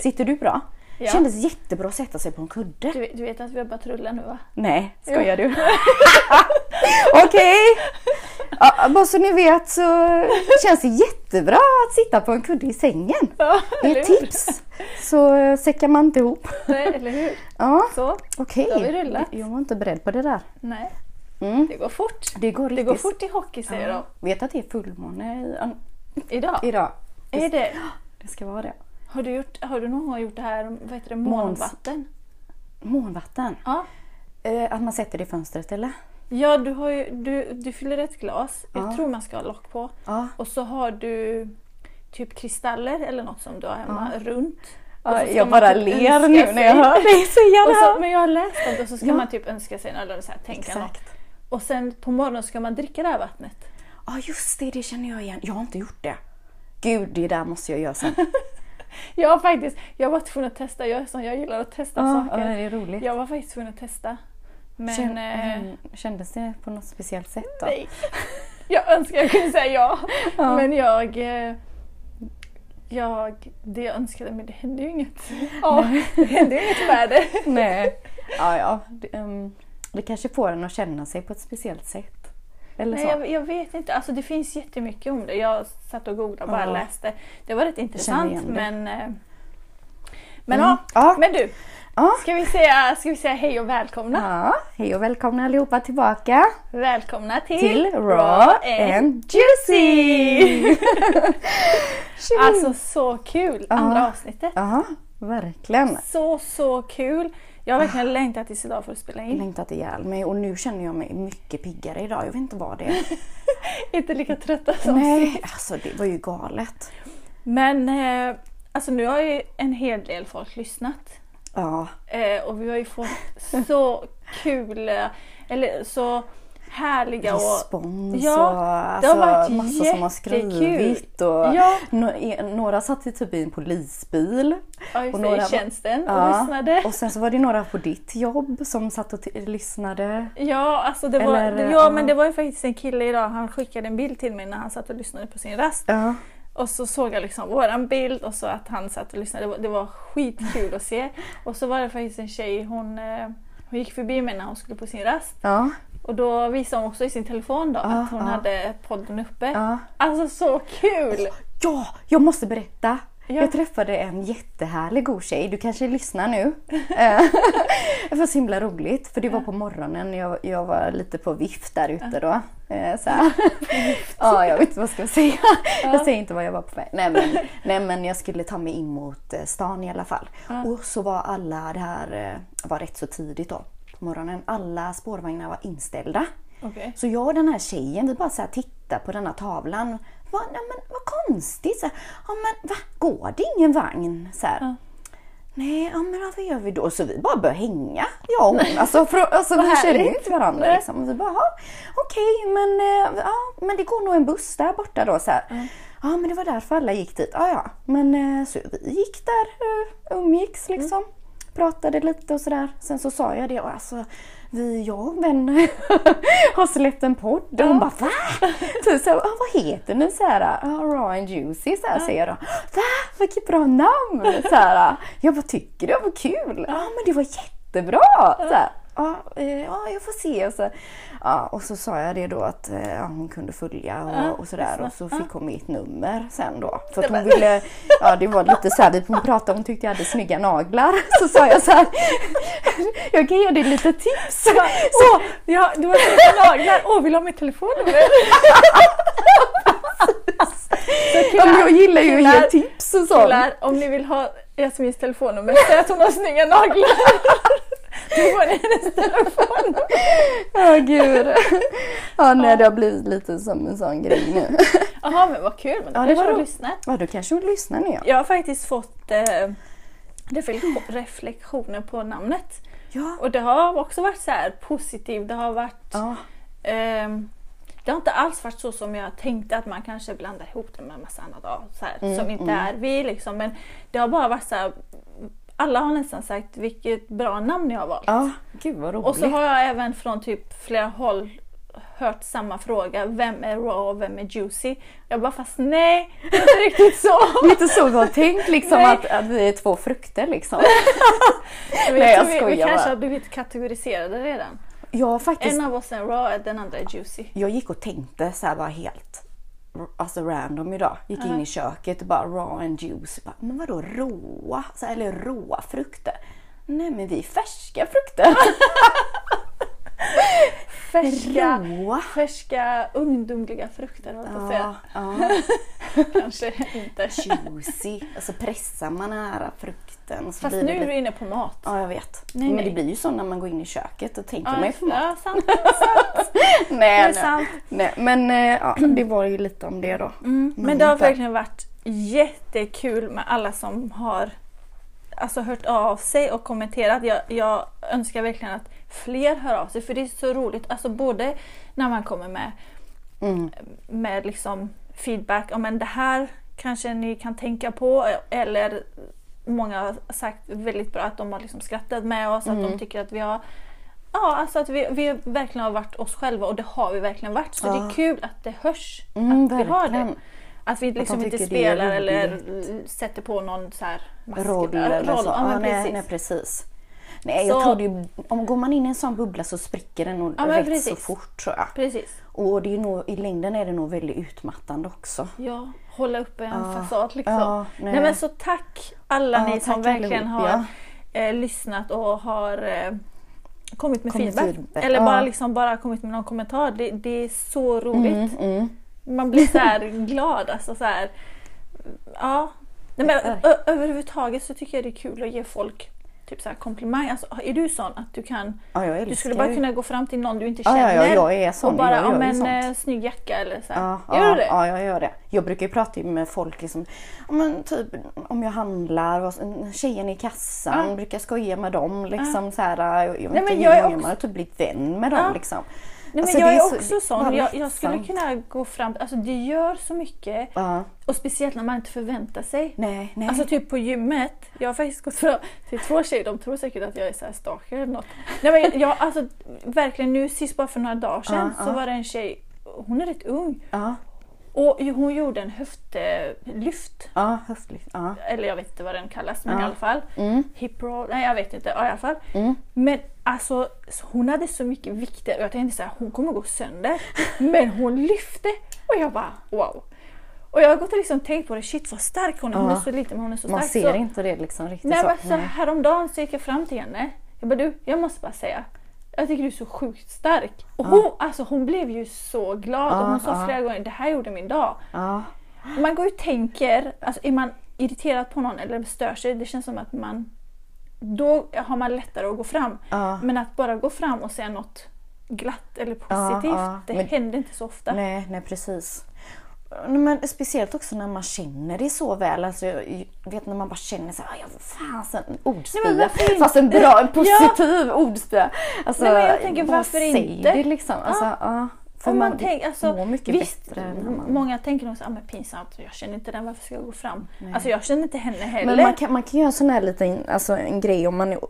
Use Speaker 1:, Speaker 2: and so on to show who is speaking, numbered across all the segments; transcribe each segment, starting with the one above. Speaker 1: Sitter du bra?
Speaker 2: Ja.
Speaker 1: Kändes jättebra att sätta sig på en kudde.
Speaker 2: Du, du vet att vi har börjat rulla nu va?
Speaker 1: Nej, skojar du? Okej! Ja, bara så ni vet så känns det jättebra att sitta på en kudde i sängen.
Speaker 2: Ja,
Speaker 1: Det är ett tips! Så eh, säckar man inte ihop.
Speaker 2: Nej, eller hur?
Speaker 1: Ja,
Speaker 2: Så.
Speaker 1: okej.
Speaker 2: Då har vi rullat.
Speaker 1: Jag var inte beredd på det där.
Speaker 2: Nej,
Speaker 1: Mm.
Speaker 2: det går fort.
Speaker 1: Det går
Speaker 2: Det
Speaker 1: riktigt
Speaker 2: går fort i hockey säger
Speaker 1: Ja. Vet att det är fullmåne i-
Speaker 2: de. Idag.
Speaker 1: idag?
Speaker 2: Är det,
Speaker 1: Det ska vara det.
Speaker 2: har, du gjort, har du någon gång gjort det här vad heter det,
Speaker 1: Måns.
Speaker 2: månvatten?
Speaker 1: Månvatten.
Speaker 2: Ja.
Speaker 1: Eh, att man sätter det i fönstret eller?
Speaker 2: Ja, du, har ju, du, du fyller ett glas.
Speaker 1: Ja.
Speaker 2: Jag tror man ska ha lock på.
Speaker 1: Ja.
Speaker 2: Och så har du typ kristaller eller något som du har hemma runt. Och så ska
Speaker 1: Jag
Speaker 2: man
Speaker 1: bara
Speaker 2: typ
Speaker 1: ler
Speaker 2: önska
Speaker 1: nu när jag
Speaker 2: sig-
Speaker 1: hör dig säga
Speaker 2: Och
Speaker 1: det
Speaker 2: så,
Speaker 1: här.
Speaker 2: men jag har läst om det och så ska
Speaker 1: Ja.
Speaker 2: man typ önska sig eller så här, tänka något.
Speaker 1: Exakt.
Speaker 2: Och sen på morgonen ska man dricka det här vattnet.
Speaker 1: Ja just det, det känner jag igen. Jag har inte gjort det. Gud, det där måste jag göra sen.
Speaker 2: Ja faktiskt, jag var tvungen att testa. Jag, är sån, jag gillar att testa
Speaker 1: Ja,
Speaker 2: saker.
Speaker 1: ja, det är roligt.
Speaker 2: Jag var faktiskt tvungen att testa. Men
Speaker 1: Känn,
Speaker 2: eh,
Speaker 1: mm, kändes det på något speciellt sätt då?
Speaker 2: nej. Jag önskar jag kunde säga ja.
Speaker 1: Ja.
Speaker 2: Men jag, eh, jag... Det jag önskade men det hände ju inget. Ja, det hände ju inget med det.
Speaker 1: Nej. Ja, ja. Det, ehm, det kanske får en att känna sig på ett speciellt sätt. Eller
Speaker 2: Nej,
Speaker 1: så.
Speaker 2: jag, jag vet inte. Alltså, det finns jättemycket om det. Jag satt och googlade och bara
Speaker 1: Ja.
Speaker 2: läste. Det var rätt intressant
Speaker 1: igen det.
Speaker 2: men... eh, Men
Speaker 1: Mm.
Speaker 2: ja,
Speaker 1: Ja.
Speaker 2: men du.
Speaker 1: Ja.
Speaker 2: Ska vi, säga, ska vi säga hej och välkomna?
Speaker 1: Ja, hej och välkomna allihopa tillbaka
Speaker 2: Välkomna till,
Speaker 1: till Raw and Juicy!
Speaker 2: Alltså så kul! Andra avsnittet.
Speaker 1: Ja, verkligen.
Speaker 2: Så, så kul! Jag har
Speaker 1: Ah.
Speaker 2: verkligen längtat tills idag för att spela in.
Speaker 1: Längtat ihjäl mig och nu känner jag mig mycket piggare idag. Jag vet inte vad det är.
Speaker 2: Inte lika trötta som
Speaker 1: Nej, alltså det var ju galet.
Speaker 2: Men eh, alltså nu har ju en hel del folk lyssnat.
Speaker 1: Ja,
Speaker 2: Eh, och vi har ju fått så kul, eh, eller så härliga och...
Speaker 1: respons
Speaker 2: Ja,
Speaker 1: och
Speaker 2: det har varit
Speaker 1: alltså, massa som har
Speaker 2: jättekul.
Speaker 1: skrivit. Och
Speaker 2: Ja.
Speaker 1: no- e- några satt i typ i en polisbil.
Speaker 2: Ja, just
Speaker 1: och
Speaker 2: det,
Speaker 1: några-
Speaker 2: i tjänsten och
Speaker 1: Ja,
Speaker 2: lyssnade.
Speaker 1: Och sen så var det några på ditt jobb som satt och t- lyssnade.
Speaker 2: Ja, alltså det var,
Speaker 1: Eller,
Speaker 2: det-
Speaker 1: ja.
Speaker 2: ja, men det var ju faktiskt en kille idag, han skickade en bild till mig när han satt och lyssnade på sin rast.
Speaker 1: Ja,
Speaker 2: Och så såg jag liksom våran bild och så att han satt och lyssnade. Det var, det var skitkul att se. Och så var det faktiskt en tjej, hon, eh, hon gick förbi mig när hon skulle på sin rast.
Speaker 1: ja,
Speaker 2: Och då visade hon också i sin telefon då
Speaker 1: Ja,
Speaker 2: att hon
Speaker 1: ja.
Speaker 2: hade podden uppe.
Speaker 1: ja.
Speaker 2: Alltså så kul!
Speaker 1: Ja, jag måste berätta.
Speaker 2: Ja.
Speaker 1: Jag träffade en jättehärlig god tjej. Du kanske lyssnar nu. Eh, det var så himla roligt för det var på morgonen. Jag, jag var lite på vift där ute då. Eh, Så här. ja, jag vet inte vad jag ska säga. Jag säger inte vad jag var på väg. Nej men, nej men jag skulle ta mig in mot eh, stan i alla fall. Och så var alla, det här eh, var rätt så tidigt då på morgonen. Alla spårvagnar var inställda.
Speaker 2: Okej.
Speaker 1: Så jag och den här tjejen, vi bara så här tittar på den här tavlan. Va, nej, men, vad konstigt! Så här, ja, men, va, går det ingen vagn? Så här. Nej, ja, men ja, vad gör vi då? Så vi bara började hänga, jag och hon. Alltså, för, alltså vi
Speaker 2: härligt.
Speaker 1: känner ju inte varandra. Liksom. Vi bara, "Jaha, okej, men, eh, ja, men det går nog en buss där borta då. Så här. Ja, men det var därför alla gick dit. Ja, ja. Men eh, så vi gick där, eh, umgicks liksom. Pratade lite och sådär. Sen så sa jag det och alltså, vi, jag och en vän har släppt en podd. Och hon bara, va? Typ så här, "Ah, vad heter ni? Så här, "Ah, raw and juicy, så här, säger jag då. Va? Vilket bra namn! Så här, jag bara, tycker du? Vad kul! Ja, men det var jättebra! Så här, Ja, eh, ja, jag får se. Och så, ja, och så sa jag det då att eh, ja, hon kunde följa och, och sådär. Och så fick hon mitt nummer sen då. För att hon ville, ja det var lite så här, vi pratade, hon tyckte jag hade snygga naglar. Så sa jag så här, jag kan ge dig lite tips. Så,
Speaker 2: Åh, ja, du har sett naglar. Åh, vill du ha mitt telefonnummer? Så
Speaker 1: ja, men
Speaker 2: killar,
Speaker 1: jag gillar ju att
Speaker 2: killar,
Speaker 1: ge tips och sånt.
Speaker 2: killar, om ni vill ha Jasmins telefonnummer, säg att hon har snygga naglar. Då får ni hennes telefon.
Speaker 1: Ja gud. Ja nej det har blivit lite som en sån grej nu.
Speaker 2: Jaha, men vad kul. Men då
Speaker 1: Ja, det
Speaker 2: kanske
Speaker 1: var
Speaker 2: hon
Speaker 1: roligt.
Speaker 2: lyssnar.
Speaker 1: Ja då kanske hon lyssnar nu ja.
Speaker 2: Jag har faktiskt fått eh, reflek- reflektioner på namnet.
Speaker 1: Ja.
Speaker 2: Och det har också varit så här positivt. Det har varit...
Speaker 1: Ja.
Speaker 2: ehm, det har inte alls varit så som jag tänkte att man kanske blandar ihop det med en massa annat av, så här,
Speaker 1: Mm,
Speaker 2: som inte är vi. Liksom. Men det har bara varit så här... Alla har nästan sagt vilket bra namn jag har valt.
Speaker 1: ja. Gud vad roligt.
Speaker 2: Och så har jag även från typ flera håll hört samma fråga. Vem är raw och vem är juicy? Jag bara fast nej, inte riktigt så.
Speaker 1: Det är inte så vi har tänkt liksom
Speaker 2: Nej.
Speaker 1: att, att vi är två frukter liksom.
Speaker 2: Men
Speaker 1: Nej, jag
Speaker 2: tror vi, vi
Speaker 1: skojar
Speaker 2: kanske
Speaker 1: bara.
Speaker 2: har blivit kategoriserade redan.
Speaker 1: Jag har faktiskt
Speaker 2: En av oss är raw, den andra är juicy.
Speaker 1: jag gick och tänkte så här bara helt alltså random idag. Gick in i köket och bara raw and juice. Bara, men vadå råa? Så här, eller råa frukter? Nej men vi är färska frukter.
Speaker 2: Färska,
Speaker 1: Råa?
Speaker 2: färska ungdomliga frukter höll jag på att
Speaker 1: Ja,
Speaker 2: säga.
Speaker 1: ja,
Speaker 2: Kanske inte.
Speaker 1: juicy. Alltså pressar man nära frukten så
Speaker 2: Fast
Speaker 1: blir det
Speaker 2: nu är
Speaker 1: lite...
Speaker 2: du inne på mat.
Speaker 1: Ja jag vet.
Speaker 2: Nej,
Speaker 1: men
Speaker 2: nej.
Speaker 1: det blir ju så när man går in i köket och tänker man
Speaker 2: Ja,
Speaker 1: ju för mat.
Speaker 2: ja, sant. Det är
Speaker 1: Nej, nej.
Speaker 2: sant.
Speaker 1: nej men eh, ja, det var ju lite om det då.
Speaker 2: Mm. Men det har
Speaker 1: inte.
Speaker 2: verkligen varit jättekul med alla som har alltså, hört av sig och kommenterat. Jag, jag önskar verkligen att fler hör av sig för det är så roligt. Alltså både när man kommer med,
Speaker 1: Mm.
Speaker 2: med liksom feedback. Ja, men det här kanske ni kan tänka på. Eller många har sagt väldigt bra att de har liksom skrattat med oss. Att de
Speaker 1: Mm.
Speaker 2: tycker att vi har Ja, alltså att vi, vi verkligen har varit oss själva och det har vi verkligen varit. Så
Speaker 1: Ja.
Speaker 2: det är kul att det hörs.
Speaker 1: Mm,
Speaker 2: att vi har det.
Speaker 1: verkligen.
Speaker 2: Att vi liksom inte
Speaker 1: tycker det är
Speaker 2: spelar eller sätter på någon så här mask.
Speaker 1: roll
Speaker 2: Ja,
Speaker 1: eller så.
Speaker 2: Ja, men
Speaker 1: nej,
Speaker 2: precis.
Speaker 1: nej, precis. Nej, jag
Speaker 2: Så-
Speaker 1: trodde ju, om går man in i en sån bubbla så spricker den nog
Speaker 2: Ja, men
Speaker 1: rätt så
Speaker 2: precis.
Speaker 1: fort tror jag.
Speaker 2: precis.
Speaker 1: Och det är ju nog, i längden är det nog väldigt utmattande också.
Speaker 2: Ja, hålla uppe en
Speaker 1: Ja.
Speaker 2: fasad liksom.
Speaker 1: Ja,
Speaker 2: Typ nej.
Speaker 1: nej.
Speaker 2: men så tack alla
Speaker 1: Eh, Ja,
Speaker 2: ni som
Speaker 1: tack
Speaker 2: verkligen
Speaker 1: allihop,
Speaker 2: har eh, lyssnat och har eh, kommit med
Speaker 1: Kommit
Speaker 2: feedback.
Speaker 1: feedback,
Speaker 2: Eller
Speaker 1: ja.
Speaker 2: bara, liksom, bara kommit med någon kommentar. Det, det är så
Speaker 1: Mm,
Speaker 2: roligt.
Speaker 1: mm.
Speaker 2: Man blir så här glad. Alltså så här, ja. Nej, men, ö- ö- överhuvudtaget så tycker jag det är kul att ge folk typ så här komplimang. Alltså, är du sån att du kan
Speaker 1: Ja, jag älskar
Speaker 2: Du skulle bara
Speaker 1: ju-
Speaker 2: kunna gå fram till någon du inte
Speaker 1: Ja,
Speaker 2: känner
Speaker 1: ja, ja, jag är sån.
Speaker 2: och bara
Speaker 1: jag gör
Speaker 2: om
Speaker 1: ju
Speaker 2: en
Speaker 1: sånt.
Speaker 2: eh, snygg jacka eller så. här.
Speaker 1: Ja,
Speaker 2: Gör
Speaker 1: ja,
Speaker 2: du det?
Speaker 1: Ja, jag gör det. Jag brukar ju prata med folk liksom, ja, men typ, om jag handlar, och så- tjejen i kassan,
Speaker 2: Ja.
Speaker 1: brukar skoja med dem. Liksom, så här, jag, jag,
Speaker 2: Nej,
Speaker 1: Nej,
Speaker 2: men
Speaker 1: men
Speaker 2: jag är
Speaker 1: man
Speaker 2: också-
Speaker 1: har typ blivit vän med dem.
Speaker 2: Ja.
Speaker 1: Liksom.
Speaker 2: Nej, men
Speaker 1: Alltså,
Speaker 2: jag
Speaker 1: det
Speaker 2: är,
Speaker 1: så-
Speaker 2: också sån.
Speaker 1: bara
Speaker 2: Jag, jag skulle
Speaker 1: lättsamt.
Speaker 2: kunna gå fram, alltså det gör så mycket
Speaker 1: Ja.
Speaker 2: och speciellt när man inte förväntar sig.
Speaker 1: Nej, nej.
Speaker 2: Alltså typ på gymmet, jag har faktiskt gått fram till två tjejer, de tror säkert att jag är så här stalker eller något. Nej men jag, alltså verkligen nu sist bara för några dagar sedan
Speaker 1: Ja,
Speaker 2: så
Speaker 1: ja.
Speaker 2: var det en tjej, hon är rätt ung
Speaker 1: ja,
Speaker 2: och hon gjorde en höftlyft.
Speaker 1: ja, höftlyft. Ja.
Speaker 2: Eller jag vet inte vad den kallas men
Speaker 1: Ja.
Speaker 2: i alla fall.
Speaker 1: Mm.
Speaker 2: hip roll, nej jag vet inte, ja, i alla fall.
Speaker 1: Mm.
Speaker 2: Men alltså så hon hade så mycket vikter och jag tänkte så här, hon kommer gå sönder. Men hon lyfte och jag bara wow. Och jag har gått och liksom tänkt på det, shit vad stark hon är. Hon
Speaker 1: Ja.
Speaker 2: är så liten men hon är så stark.
Speaker 1: Man ser
Speaker 2: så,
Speaker 1: inte det liksom riktigt
Speaker 2: nej,
Speaker 1: så.
Speaker 2: men alltså- så
Speaker 1: Nej.
Speaker 2: häromdagen så gick jag fram till henne. Jag bara du, jag måste bara säga. Jag tycker du är så sjukt stark. Och hon, alltså, hon blev ju så glad och
Speaker 1: Ja,
Speaker 2: hon sa
Speaker 1: ja.
Speaker 2: flera gånger det här gjorde min dag.
Speaker 1: Ja.
Speaker 2: Man går ju och tänker, alltså är man irriterad på någon eller stör sig, det känns som att man då har man lättare att gå fram.
Speaker 1: Ja.
Speaker 2: Men att bara gå fram och säga något glatt eller
Speaker 1: Ja,
Speaker 2: positivt,
Speaker 1: ja.
Speaker 2: det
Speaker 1: Men-
Speaker 2: händer inte så ofta.
Speaker 1: Nej, nej precis. Nej, Men speciellt också när man känner det så väl. Alltså, jag jag vet när man bara känner så här, "Aj, vad fasen,
Speaker 2: Nej, men
Speaker 1: ordspya.
Speaker 2: varför
Speaker 1: Fast en bra, en positiv ordspya. Alltså,
Speaker 2: Nej, men jag tänker,
Speaker 1: bara
Speaker 2: varför
Speaker 1: säg
Speaker 2: inte?
Speaker 1: det liksom. Alltså,
Speaker 2: Ja.
Speaker 1: ja.
Speaker 2: Om
Speaker 1: För
Speaker 2: man
Speaker 1: man,
Speaker 2: tänk- alltså,
Speaker 1: mår mycket
Speaker 2: visst,
Speaker 1: bättre när man...
Speaker 2: Många tänker nog så, ah, men pinsamt, jag känner inte den, varför ska jag gå fram? Alltså jag känner inte henne heller.
Speaker 1: Men man kan, man kan göra en sån här liten alltså, en grej om man är o-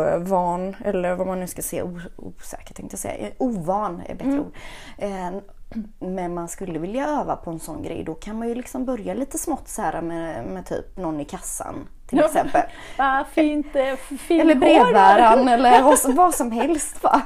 Speaker 1: ovan eller vad man nu ska säga, o- osäker tänkte jag säga. Eh, Ovan är
Speaker 2: Mm.
Speaker 1: bättre ord. Eh, men man skulle vilja öva på en sån grej då kan man ju liksom börja lite smått så här med, med typ någon i kassan till
Speaker 2: Ja.
Speaker 1: exempel.
Speaker 2: ah, fint, eh, fint
Speaker 1: Eller
Speaker 2: hår.
Speaker 1: brevbäraren eller vad, som- vad som helst va.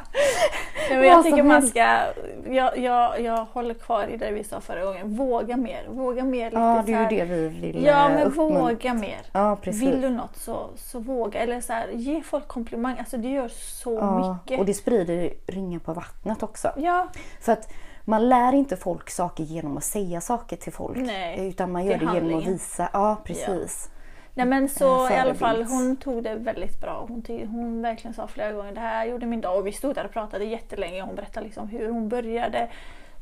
Speaker 2: Nej, men jag
Speaker 1: vad
Speaker 2: tycker
Speaker 1: som
Speaker 2: man
Speaker 1: helst.
Speaker 2: ska, jag, jag, jag håller kvar i det vi sa förra gången, våga mer, våga mer. Lite
Speaker 1: Ja det
Speaker 2: så här-
Speaker 1: är ju det vi vill
Speaker 2: Ja
Speaker 1: eh,
Speaker 2: men
Speaker 1: uppmuntra.
Speaker 2: våga mer.
Speaker 1: Ja precis.
Speaker 2: Vill du något så, så våga. Eller så här, ge folk komplimang. Alltså det gör så
Speaker 1: ja,
Speaker 2: mycket.
Speaker 1: och det sprider ringar på vattnet också.
Speaker 2: Ja,
Speaker 1: För att man lär inte folk saker genom att säga saker till folk.
Speaker 2: Nej,
Speaker 1: utan man
Speaker 2: det
Speaker 1: gör
Speaker 2: är
Speaker 1: det, genom att
Speaker 2: handlingen.
Speaker 1: visa. Ja, precis.
Speaker 2: nej men så
Speaker 1: En
Speaker 2: i alla fall
Speaker 1: Eh, förebild.
Speaker 2: hon tog det väldigt bra. Hon, ty- hon verkligen sa flera gånger det här gjorde min dag. Och vi stod där och pratade jättelänge. Hon berättade liksom hur hon började.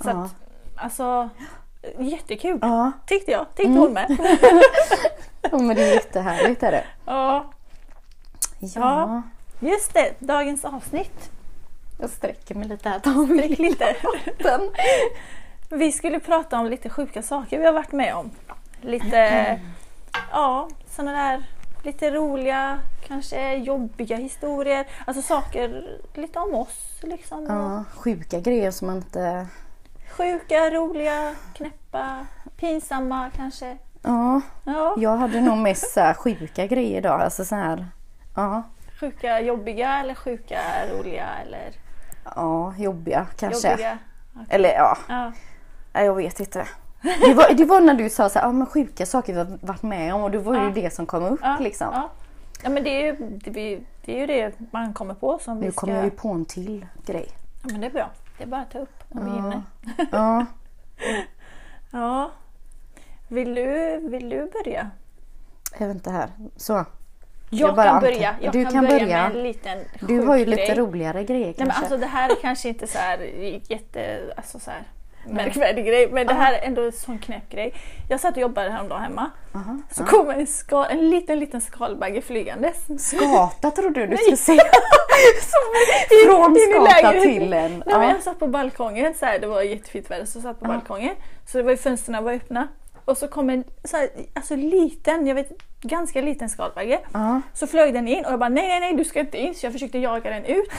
Speaker 2: Så
Speaker 1: Ja.
Speaker 2: att, alltså jättekul.
Speaker 1: Ja. Mm.
Speaker 2: Tyckte jag. Tyckte hon med.
Speaker 1: ja. men det är jättehärligt. Är det.
Speaker 2: Ja,
Speaker 1: Ja.
Speaker 2: Ja. just det. Dagens avsnitt.
Speaker 1: Jag sträcker mig lite här. Ta mig
Speaker 2: Drick lite.
Speaker 1: liten.
Speaker 2: Vi skulle prata
Speaker 1: Mm.
Speaker 2: om lite sjuka saker vi har varit med om. Lite, ja, sådana där lite roliga, kanske jobbiga historier. Alltså saker lite om oss liksom.
Speaker 1: Ja, sjuka grejer som man inte...
Speaker 2: Sjuka, roliga, knäppa, pinsamma kanske.
Speaker 1: Ja,
Speaker 2: Ja,
Speaker 1: jag hade nog mest så här sjuka grejer idag. Alltså så här... Ja,
Speaker 2: sjuka, jobbiga eller sjuka, roliga eller
Speaker 1: ja jobbiga kanske.
Speaker 2: jobbiga.
Speaker 1: Eller ja,
Speaker 2: Ja.
Speaker 1: nej, jag vet inte. Det var, det var när du sa så här, ah, men sjuka saker vi har varit med om och det var ju
Speaker 2: Ja.
Speaker 1: det som kom upp
Speaker 2: Ja,
Speaker 1: liksom.
Speaker 2: Ja. ja men det är, ju, det, blir- det är ju det man kommer på som vi
Speaker 1: Nu
Speaker 2: ska...
Speaker 1: kommer jag ju på en till grej.
Speaker 2: Ja men det är bra. Det är bara att ta upp om vi
Speaker 1: Ja.
Speaker 2: hinner.
Speaker 1: Ja.
Speaker 2: Ja. Vill du, vill du börja?
Speaker 1: Jag väntar här. Så.
Speaker 2: Jag,
Speaker 1: bara
Speaker 2: kan
Speaker 1: antar-
Speaker 2: börja. Jag
Speaker 1: Du
Speaker 2: kan,
Speaker 1: kan
Speaker 2: börja,
Speaker 1: börja.
Speaker 2: med en liten
Speaker 1: Du
Speaker 2: sjuk
Speaker 1: har ju
Speaker 2: grej.
Speaker 1: lite roligare grejer
Speaker 2: Nej, men
Speaker 1: kanske.
Speaker 2: alltså det här är kanske inte så här jätte, alltså så här märkvärdig grej, men det här är ändå en sån knäpp grej. Jag satt och jobbade häromdagen hemma,
Speaker 1: Aha.
Speaker 2: så kom en, skal, en liten, liten skalbagge flygandes.
Speaker 1: Skata trodde du du
Speaker 2: Nej.
Speaker 1: skulle säga. Från
Speaker 2: in i
Speaker 1: skata
Speaker 2: lägenheten.
Speaker 1: till en.
Speaker 2: Nej, men
Speaker 1: Ja.
Speaker 2: jag satt på balkongen, så här, det var jättefint väder, så jag satt på balkongen. Så det var ju, fönstren var öppna. Och så kom en så här, alltså liten, jag vet, ganska liten skalbagge.
Speaker 1: Ja.
Speaker 2: Så flög den in och jag bara nej, nej, nej, du ska inte in. Så jag försökte jaga den ut.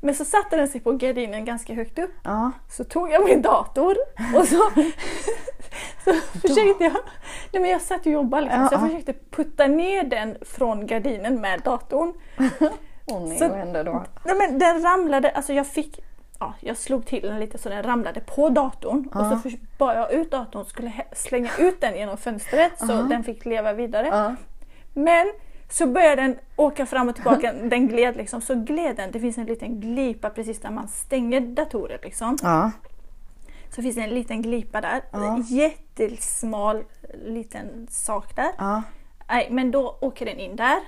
Speaker 2: Men så satte den sig på gardinen ganska högt upp.
Speaker 1: Ja.
Speaker 2: Så tog jag min dator och så, så försökte jag... Nej men jag satt och jobbade liksom, så jag
Speaker 1: Ja, ja.
Speaker 2: försökte putta ner den från gardinen med datorn.
Speaker 1: Åh nej,
Speaker 2: Så-
Speaker 1: vad hände då?
Speaker 2: Nej men den ramlade, alltså jag fick... Ja, jag slog till den lite så den ramlade på datorn och så förs- bar jag ut datorn och skulle hä- slänga ut den genom fönstret så den fick leva vidare.
Speaker 1: Ja.
Speaker 2: Men så började den åka fram och tillbaka, den gled liksom. Så gled den, det finns en liten glipa precis där man stänger datorer liksom.
Speaker 1: Ja.
Speaker 2: Så finns det en liten glipa där.
Speaker 1: Ja.
Speaker 2: Jättesmal liten sak där.
Speaker 1: ja.
Speaker 2: Nej, men då åker den in där.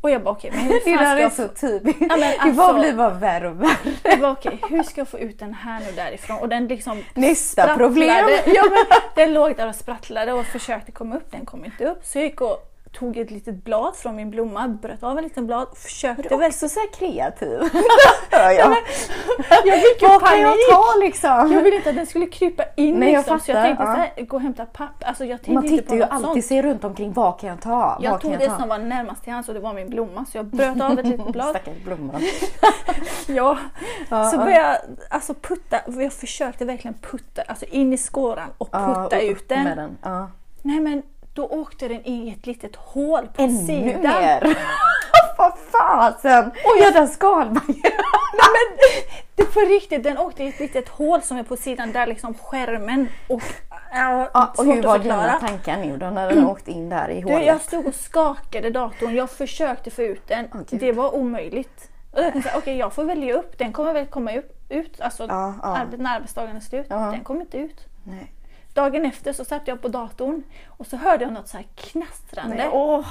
Speaker 2: Och jag bara okej, men hur
Speaker 1: Det
Speaker 2: fan
Speaker 1: där
Speaker 2: ska
Speaker 1: är
Speaker 2: jag
Speaker 1: så
Speaker 2: få,
Speaker 1: typiskt.
Speaker 2: Ja, men
Speaker 1: Det bara
Speaker 2: alltså-
Speaker 1: blir bara värre och värre.
Speaker 2: jag bara, okej, hur ska jag få ut den här nu därifrån? Och den liksom
Speaker 1: Nästa problem.
Speaker 2: sprattlade. Ja, men den låg där och sprattlade och försökte komma upp, den kom inte upp. Så jag gick och tog ett litet blad från min blomma, bröt av en liten blad och
Speaker 1: Du
Speaker 2: försökte
Speaker 1: är
Speaker 2: väl.
Speaker 1: också så här kreativ. Hör jag.
Speaker 2: Jag fick ju
Speaker 1: Vad kan jag
Speaker 2: panik!
Speaker 1: ta liksom?
Speaker 2: Jag ville inte att den skulle krypa in
Speaker 1: Nej, jag
Speaker 2: liksom, så jag
Speaker 1: fattar,
Speaker 2: tänkte
Speaker 1: ja.
Speaker 2: såhär, gå och hämta papper. Alltså, jag tänkte
Speaker 1: Man
Speaker 2: inte på
Speaker 1: tittar ju
Speaker 2: något sånt.
Speaker 1: alltid sig runt omkring. Vad kan jag ta?
Speaker 2: Jag
Speaker 1: Vad kan
Speaker 2: tog
Speaker 1: jag
Speaker 2: det
Speaker 1: ta?
Speaker 2: som var närmast till hands och det var min blomma så jag bröt av ett litet blad.
Speaker 1: Stackars blomman.
Speaker 2: ja.
Speaker 1: Ja,
Speaker 2: Så
Speaker 1: ja.
Speaker 2: började jag alltså, putta, jag försökte verkligen putta, alltså in i skåran och
Speaker 1: Ja,
Speaker 2: putta
Speaker 1: och
Speaker 2: ut
Speaker 1: upp
Speaker 2: den.
Speaker 1: med den. Ja.
Speaker 2: Nej men då åkte den in i ett litet hål på
Speaker 1: Ännu
Speaker 2: sidan.
Speaker 1: mer! Vad fasen! Och jag den skalbaggen!
Speaker 2: Nej, men det på riktigt, den åkte i ett litet hål som är på sidan där liksom skärmen och... Äh,
Speaker 1: Ja, och
Speaker 2: svårt
Speaker 1: hur
Speaker 2: att
Speaker 1: var
Speaker 2: förklara.
Speaker 1: dina tankar nu då när den åkte in där i
Speaker 2: Du, jag
Speaker 1: hålet?
Speaker 2: stod och skakade datorn, jag försökte få ut den.
Speaker 1: Åh, gud.
Speaker 2: det var omöjligt. Och jag tänkte såhär, okej jag får välja upp, den kommer väl komma upp, ut, alltså
Speaker 1: Ja, ja.
Speaker 2: arbet- när arbetsdagen är slut.
Speaker 1: Ja.
Speaker 2: Den kom inte ut.
Speaker 1: Nej.
Speaker 2: Dagen efter så satt jag på datorn och så hörde jag något så här knastrande.
Speaker 1: Nej, åh.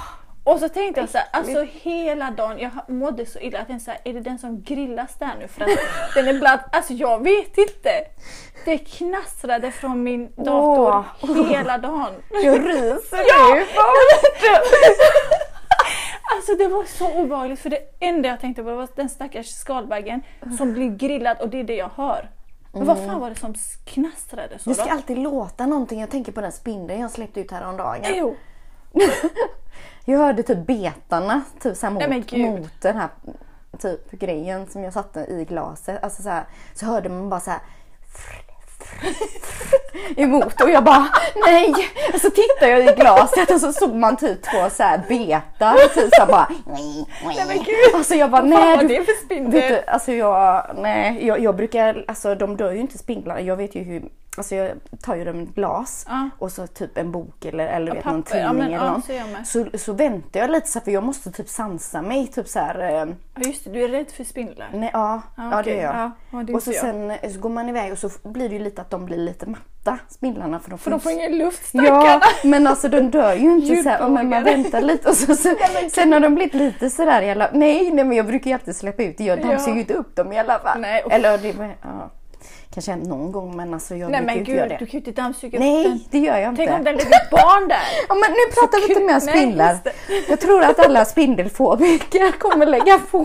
Speaker 2: Och så tänkte jag så här, alltså hela dagen, jag mådde så illa att jag så här, är det den som grillas där nu? För att den är bland, alltså jag vet inte. Det knastrade från min dator hela dagen.
Speaker 1: Du ryser
Speaker 2: Ja!
Speaker 1: nu! Vad-
Speaker 2: Alltså det var så obehagligt för det enda jag tänkte på var den stackars skalbaggen som blir grillad och det är det jag hör. Men vad fan var det som knastrade så
Speaker 1: Det
Speaker 2: då?
Speaker 1: Mm. ska alltid låta någonting. Jag tänker på den spindeln jag släppte ut häromdagen.
Speaker 2: Jo,
Speaker 1: Jag hörde typ betarna typ så här
Speaker 2: Nej, men
Speaker 1: mot,
Speaker 2: gud.
Speaker 1: mot den här typ grejen som jag satte i glaset. Alltså så, här, så hörde man bara så här emot och jag bara nej! Och så tittade jag i glaset och så såg man typ två så här betar typ så här bara nej
Speaker 2: men gud.
Speaker 1: Alltså jag bara
Speaker 2: vad
Speaker 1: nej
Speaker 2: var
Speaker 1: du
Speaker 2: det för
Speaker 1: Vet
Speaker 2: spindel?
Speaker 1: du, alltså jag, nej, jag, jag brukar, alltså de dör ju inte spindlarna. Jag vet ju hur, alltså jag tar ju dem i glas
Speaker 2: Ja.
Speaker 1: och så typ en bok eller, eller vet,
Speaker 2: papper.
Speaker 1: någon
Speaker 2: Ja,
Speaker 1: tidning
Speaker 2: men,
Speaker 1: eller
Speaker 2: ja,
Speaker 1: något.
Speaker 2: så gör jag med.
Speaker 1: så, så väntar jag lite så här, för jag måste typ sansa mig. Typ så här, eh,
Speaker 2: Ja just det, du är rädd för spindlar.
Speaker 1: nej, ja,
Speaker 2: Ja,
Speaker 1: ja det
Speaker 2: okej.
Speaker 1: gör jag.
Speaker 2: Ja, ja, det är
Speaker 1: och så
Speaker 2: inte jag.
Speaker 1: sen eh, så går man iväg och så f- blir det ju lite att de blir lite matta, spindlarna. För de
Speaker 2: För de får
Speaker 1: inte-
Speaker 2: ingen luft
Speaker 1: Ja,
Speaker 2: stackarna.
Speaker 1: men alltså de dör ju inte så här, men man
Speaker 2: Djurplågade.
Speaker 1: väntar lite och så, så, sen har de blivit lite sådär i alla Nej, nej men jag brukar ju alltid släppa ut det. Jag dammsuger ju inte upp dem i alla fall.
Speaker 2: Nej, usch.
Speaker 1: Eller det, ja, kanske hänt någon gång men alltså jag
Speaker 2: Nej
Speaker 1: brukar ju
Speaker 2: men
Speaker 1: inte göra
Speaker 2: gud, du
Speaker 1: det.
Speaker 2: kan ju inte dammsuga upp den.
Speaker 1: Nej, det gör jag inte.
Speaker 2: Tänk om det ligger ett barn där.
Speaker 1: Ja, men nu pratar vi inte mer om
Speaker 2: Nej,
Speaker 1: spindlar.
Speaker 2: just det.
Speaker 1: Jag tror att alla spindelfobiker kommer lägga på.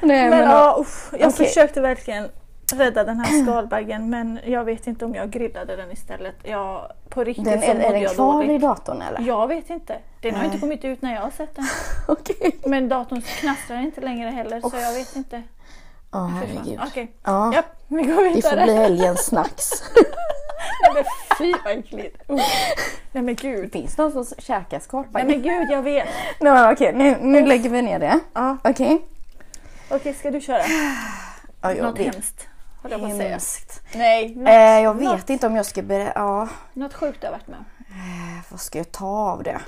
Speaker 1: Nej, men,
Speaker 2: Men, ja, usch, jag
Speaker 1: Okej.
Speaker 2: försökte verkligen rädda den här skalbaggen men jag vet inte om jag grillade den istället. Jag, på riktigt
Speaker 1: Den,
Speaker 2: så
Speaker 1: är, är
Speaker 2: mådde
Speaker 1: den
Speaker 2: jag
Speaker 1: kvar
Speaker 2: dåligt.
Speaker 1: i datorn eller?
Speaker 2: Jag vet inte. Den har
Speaker 1: Nej.
Speaker 2: inte kommit ut när jag har sett den.
Speaker 1: Okej.
Speaker 2: Men datorn knastrar inte längre heller så jag vet inte.
Speaker 1: Ja,
Speaker 2: Fy fan.
Speaker 1: herregud.
Speaker 2: Okej,
Speaker 1: Ja,
Speaker 2: Japp, vi går
Speaker 1: det får
Speaker 2: vidare.
Speaker 1: bli helgens snacks.
Speaker 2: Nej men fy vad äckligt. Uh. Nej men gud.
Speaker 1: Finns det någon som käkar
Speaker 2: Nej
Speaker 1: skorpagge?
Speaker 2: men gud jag vet.
Speaker 1: Nej, men Okej, nu, nu lägger vi ner det.
Speaker 2: Ja.
Speaker 1: Okej.
Speaker 2: Okej ska du köra?
Speaker 1: Ja, jag
Speaker 2: Något
Speaker 1: vet.
Speaker 2: hemskt. Höll jag på att säga.
Speaker 1: Hemskt.
Speaker 2: Nej. Något,
Speaker 1: Eh, jag vet
Speaker 2: Något,
Speaker 1: inte om jag ska berätta. Ja, Eh,
Speaker 2: något sjukt du har varit med om.
Speaker 1: vad ska jag ta av det?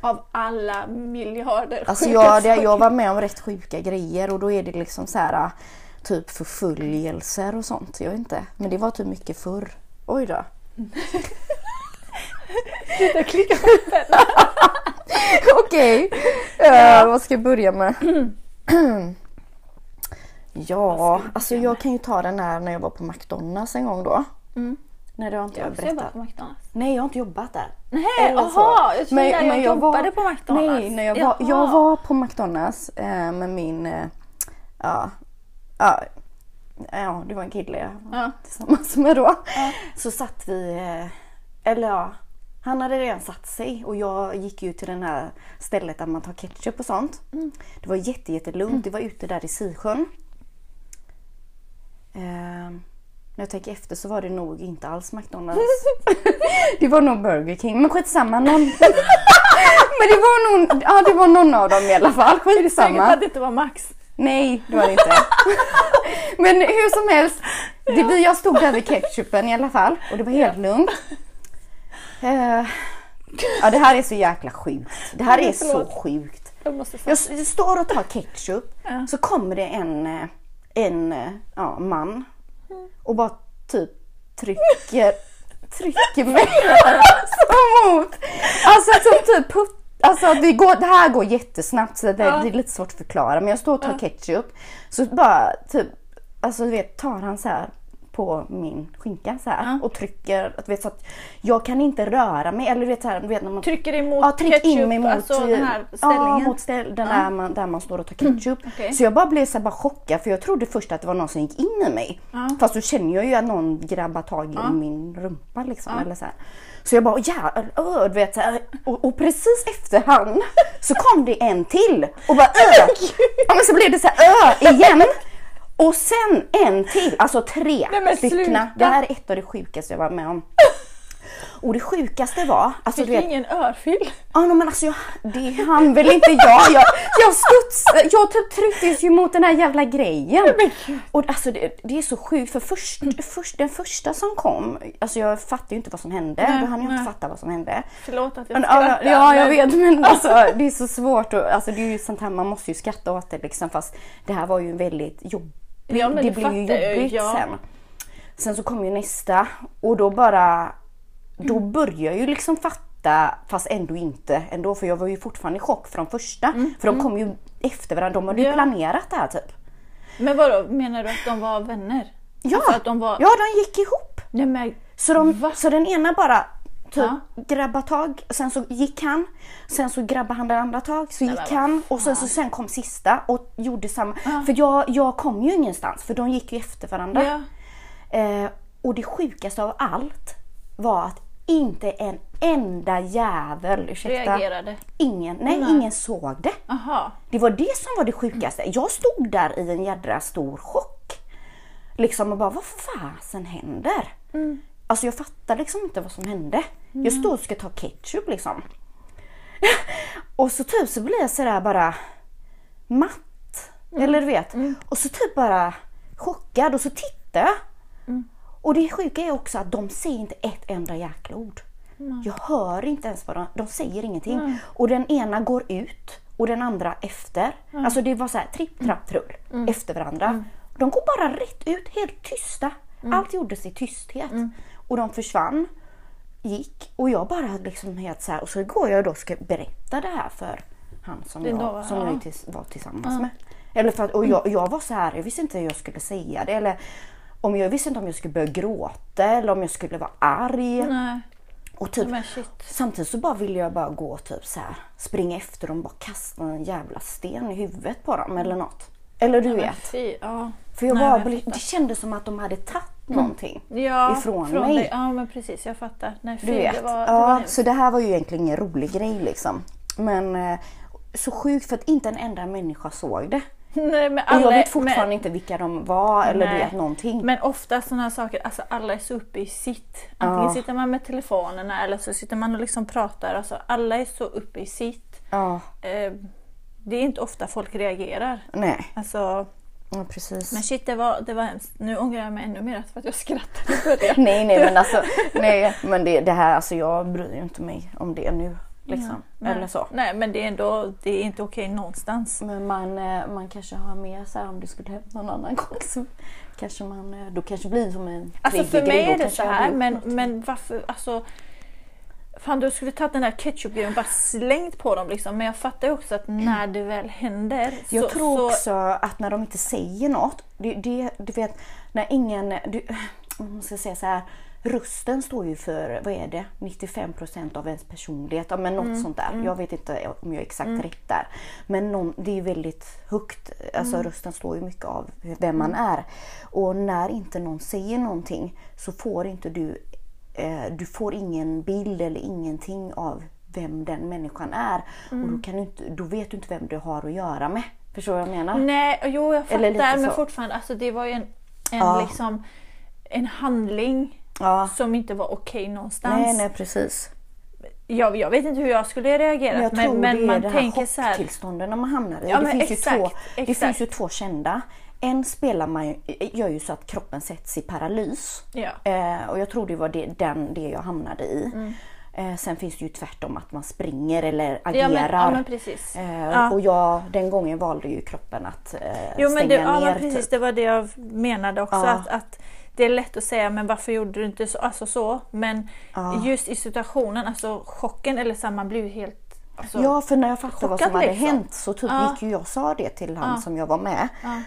Speaker 2: Av alla miljarder
Speaker 1: Alltså
Speaker 2: sjuka
Speaker 1: jag, det,
Speaker 2: saker.
Speaker 1: jag var med om rätt sjuka grejer och då är det liksom så här typ förföljelser och sånt. Jag vet inte. Men det var typ mycket förr. Oj då.
Speaker 2: Sluta klicka på den.
Speaker 1: Okej. Eh, vad ska jag börja med? ja, alltså jag kan ju ta den här när jag var på McDonalds en gång då. Nej det har inte jag,
Speaker 2: Så jag bara
Speaker 1: berättat.
Speaker 2: på McDonalds.
Speaker 1: Nej jag har inte jobbat där.
Speaker 2: Nej,
Speaker 1: Eller så.
Speaker 2: jaha! Jag trodde jag jobbade på McDonalds.
Speaker 1: Nej, när jag, var, jag
Speaker 2: Jaha.
Speaker 1: var på McDonalds eh, med min... Eh, ja, ja, ja, det var en kille jag var
Speaker 2: Ja.
Speaker 1: tillsammans med då. Så satt vi... Eh, eller ja, han hade redan satt sig och jag gick ju till den här stället där man tar ketchup och sånt.
Speaker 2: Mm.
Speaker 1: Det var jätte, jättelugnt. Det var ute där i Sisjön. Ehm, när jag tänker efter så var det nog inte alls McDonalds. det var nog Burger King, men skitsamma. Någon... men det var, någon... ja, det var någon av dem i alla fall.
Speaker 2: Säkert
Speaker 1: Skitsamma.
Speaker 2: att det inte var Max.
Speaker 1: Nej, det var det inte. Men hur som helst, det, vi- jag stod där vid ketchupen i alla fall och det var helt lugnt. Eh, ja, det här är så jäkla sjukt. Det här är så
Speaker 2: Förlåt.
Speaker 1: sjukt.
Speaker 2: Jag måste säga.
Speaker 1: Jag s- jag står och tar ketchup så kommer det en, eh, en eh, ja, man och bara typ trycker, trycker mig alltså mot. Alltså som typ putt, Alltså det, går, det här går jättesnabbt så det,
Speaker 2: Ja.
Speaker 1: det är lite svårt att förklara men jag står och tar ketchup så bara typ, alltså du vet tar han så här på min skinka så här och trycker, du vet, så att jag kan inte röra mig eller du vet så här, du vet när man
Speaker 2: Trycker dig mot
Speaker 1: ja, tryck in
Speaker 2: ketchup,
Speaker 1: mig mot, eh,
Speaker 2: alltså den här
Speaker 1: ja,
Speaker 2: ställningen. Mm,
Speaker 1: mot ställ, den där, man, där man står och tar ketchup.
Speaker 2: okej.
Speaker 1: Så jag bara blev så här, bara chockad för jag trodde först att det var någon som gick in i mig. Fast då känner jag ju att någon grabbar tag i min rumpa liksom. Eller så, här. så jag bara ja, ö, ö, du vet, så här, och, och precis efter han så kom det en till och bara ö. Ja, men så blev det så här ö igen. Och sen en till, alltså tre
Speaker 2: Nej, men sluta.
Speaker 1: styckna. Det här är ett av det sjukaste jag var med om. Och det sjukaste var, alltså
Speaker 2: Fick
Speaker 1: du vet,
Speaker 2: ingen örfil.
Speaker 1: Ja nej, men alltså jag, det hann väl inte jag. Jag, jag studsade, jag typ trycktes ju mot den här jävla grejen. Och alltså det, det är så sjukt för först, först, den första som kom, alltså jag fattade ju inte vad som hände.
Speaker 2: Nej,
Speaker 1: Då hann jag
Speaker 2: nej.
Speaker 1: inte fatta vad som hände.
Speaker 2: Förlåt att jag
Speaker 1: Men, ja,
Speaker 2: skrattar.
Speaker 1: ja jag
Speaker 2: men-
Speaker 1: vet men alltså det är så svårt och, alltså det är ju sånt här man måste ju skratta åt det liksom fast det här var ju en väldigt jobb
Speaker 2: Ja, men
Speaker 1: det
Speaker 2: det
Speaker 1: blev ju
Speaker 2: fattar jag ju,
Speaker 1: jobbigt
Speaker 2: ja.
Speaker 1: sen. Sen så kom ju nästa och då bara, då
Speaker 2: Mm.
Speaker 1: började jag ju liksom fatta fast ändå inte ändå för jag var ju fortfarande i chock från första för de kom ju efter varandra, de hade ju
Speaker 2: Mm, Ja.
Speaker 1: planerat det här typ.
Speaker 2: Men vadå, menar du att de var vänner?
Speaker 1: Ja,
Speaker 2: Alltså att de var...
Speaker 1: ja de gick ihop.
Speaker 2: Nej men
Speaker 1: Så, de, så den ena bara typ
Speaker 2: Ja.
Speaker 1: grabbade tag, sen så gick han, sen så grabbade han den andra tag, så gick
Speaker 2: men vad
Speaker 1: han och sen, så, sen kom sista och gjorde samma. För jag, jag kom ju ingenstans för de gick ju efter varandra.
Speaker 2: Ja.
Speaker 1: Eh, och det sjukaste av allt var att inte en enda jävel, ursäkta,
Speaker 2: reagerade.
Speaker 1: ingen, nej,
Speaker 2: Nej.
Speaker 1: ingen såg det.
Speaker 2: Aha.
Speaker 1: Det var det som var det sjukaste. Jag stod där i en jädra stor chock. Liksom och bara, vad fasen händer? Alltså jag fattar liksom inte vad som hände. Jag stod och ska ta ketchup liksom. och så typ så blir jag sådär bara matt. Eller du vet. Och så typ bara chockad och så tittar jag. Och det sjuka är också att de säger inte ett enda jäkla ord. Jag hör inte ens vad de, de säger ingenting. Och den ena går ut och den andra efter. Alltså det var så här tripp, trapp, trull. Efter varandra. De går bara rätt ut, helt tysta. Allt gjordes i tysthet. Och de försvann, gick och jag bara liksom helt så här. Och så går jag då och ska berätta det här för han som,
Speaker 2: Det
Speaker 1: jag,
Speaker 2: då,
Speaker 1: som
Speaker 2: ja.
Speaker 1: jag är tills, var tillsammans med. Eller för att,
Speaker 2: Mm.
Speaker 1: och jag, jag var så här, jag visste inte hur jag skulle säga det. Eller om jag visste inte om jag skulle börja gråta eller om jag skulle vara arg.
Speaker 2: Nej.
Speaker 1: Och typ,
Speaker 2: Men shit.
Speaker 1: samtidigt så bara ville jag bara gå och typ så här, springa efter dem, bara kasta en jävla sten i huvudet på dem eller något. Eller du
Speaker 2: Nej, men
Speaker 1: vet.
Speaker 2: Fy, Mm. ja.
Speaker 1: För jag
Speaker 2: Nej,
Speaker 1: bara
Speaker 2: jag
Speaker 1: blev,
Speaker 2: fattar. Mm.
Speaker 1: det kändes som att de hade tagit någonting.
Speaker 2: Ja,
Speaker 1: Ifrån mig.
Speaker 2: dig. Ja, men precis. Jag fattar. Nej, fy,
Speaker 1: Du vet.
Speaker 2: Det var, det var
Speaker 1: ja,
Speaker 2: hemskt.
Speaker 1: så det här var ju egentligen ingen rolig grej liksom. Men eh, så sjukt för att inte en enda människa såg det.
Speaker 2: Nej, men
Speaker 1: Och
Speaker 2: alla,
Speaker 1: jag vet fortfarande
Speaker 2: men,
Speaker 1: inte vilka de var eller du
Speaker 2: Nej.
Speaker 1: vet någonting.
Speaker 2: men ofta sådana här saker, alltså alla är så uppe i sitt. Antingen
Speaker 1: Ja.
Speaker 2: sitter man med telefonerna eller så sitter man och liksom pratar. Alltså, alla är så uppe i sitt.
Speaker 1: Ja,
Speaker 2: Eh, det är inte ofta folk reagerar.
Speaker 1: nej.
Speaker 2: Alltså,
Speaker 1: Ja, precis.
Speaker 2: men shit, det var, det var hemskt. Nu ångrar jag mig ännu mer för att jag skrattade i början.
Speaker 1: Nej, nej men alltså. Nej, men det, det här, alltså jag bryr ju inte mig om det nu. Liksom.
Speaker 2: Men-
Speaker 1: Eller så.
Speaker 2: Nej, men det är ändå det är inte okej någonstans.
Speaker 1: Men man, eh, man kanske har med sig om det skulle hända någon annan gång. Så kanske man, eh, då kanske det blir som en
Speaker 2: Alltså för
Speaker 1: triggig
Speaker 2: mig
Speaker 1: grej, då
Speaker 2: är det
Speaker 1: kanske
Speaker 2: så
Speaker 1: jag
Speaker 2: här,
Speaker 1: hade
Speaker 2: men,
Speaker 1: gjort något.
Speaker 2: men varför, alltså. Fan du skulle tagit den där ketchupgrejen och bara slängt på dem liksom. Men jag fattar ju också att när det väl händer
Speaker 1: Mm. Jag
Speaker 2: så,
Speaker 1: tror
Speaker 2: så
Speaker 1: också att när de inte säger något, det, det, du vet när ingen, du, man ska säga så här, rösten står ju för, vad är det, 95% av ens personlighet, ja, men något sånt där. Jag vet inte om jag är exakt rätt där. Men någon, det är ju väldigt högt, alltså rösten står ju mycket av vem man är. Och när inte någon säger någonting så får inte du, eh, du får ingen bild eller ingenting av vem den människan är. Och då, kan du inte, då vet du inte vem du har att göra med. Förstår du vad jag menar?
Speaker 2: Nej, jo jag
Speaker 1: Eller lite
Speaker 2: fattar men
Speaker 1: så.
Speaker 2: fortfarande alltså det var ju en, en,
Speaker 1: Ja.
Speaker 2: liksom, en handling
Speaker 1: Ja.
Speaker 2: som inte var okej någonstans.
Speaker 1: Nej, nej precis.
Speaker 2: Jag, jag vet inte hur jag skulle reagera
Speaker 1: Men
Speaker 2: men,
Speaker 1: jag tror
Speaker 2: men,
Speaker 1: det är
Speaker 2: man
Speaker 1: det
Speaker 2: tänker så
Speaker 1: här
Speaker 2: här.
Speaker 1: chocktillstånden när man hamnar i.
Speaker 2: Ja,
Speaker 1: det,
Speaker 2: men
Speaker 1: finns
Speaker 2: exakt,
Speaker 1: ju två, det
Speaker 2: exakt.
Speaker 1: finns ju två kända. En spelar man ju, gör ju så att kroppen sätts i paralys.
Speaker 2: Ja.
Speaker 1: Eh, och jag tror det var det, den, det jag hamnade i. Eh, sen finns det ju tvärtom att man springer eller agerar.
Speaker 2: Mm. Ja men, ja men precis.
Speaker 1: Eh,
Speaker 2: Ja.
Speaker 1: Och jag, den gången valde ju kroppen att eh,
Speaker 2: Jo,
Speaker 1: stänga
Speaker 2: men det,
Speaker 1: ner.
Speaker 2: ja, men
Speaker 1: typ.
Speaker 2: precis, det var det jag menade också.
Speaker 1: Ja.
Speaker 2: Att, att det är lätt att säga, men varför gjorde du inte så? Alltså så men
Speaker 1: Ja.
Speaker 2: just i situationen, alltså chocken, eller så här, man blir ju helt... Alltså,
Speaker 1: Ja, för när jag fattade vad
Speaker 2: chockad
Speaker 1: som hade
Speaker 2: liksom.
Speaker 1: hänt så typ
Speaker 2: Ja.
Speaker 1: gick ju jag och sa det till han
Speaker 2: Ja.
Speaker 1: som jag var med.
Speaker 2: Ja.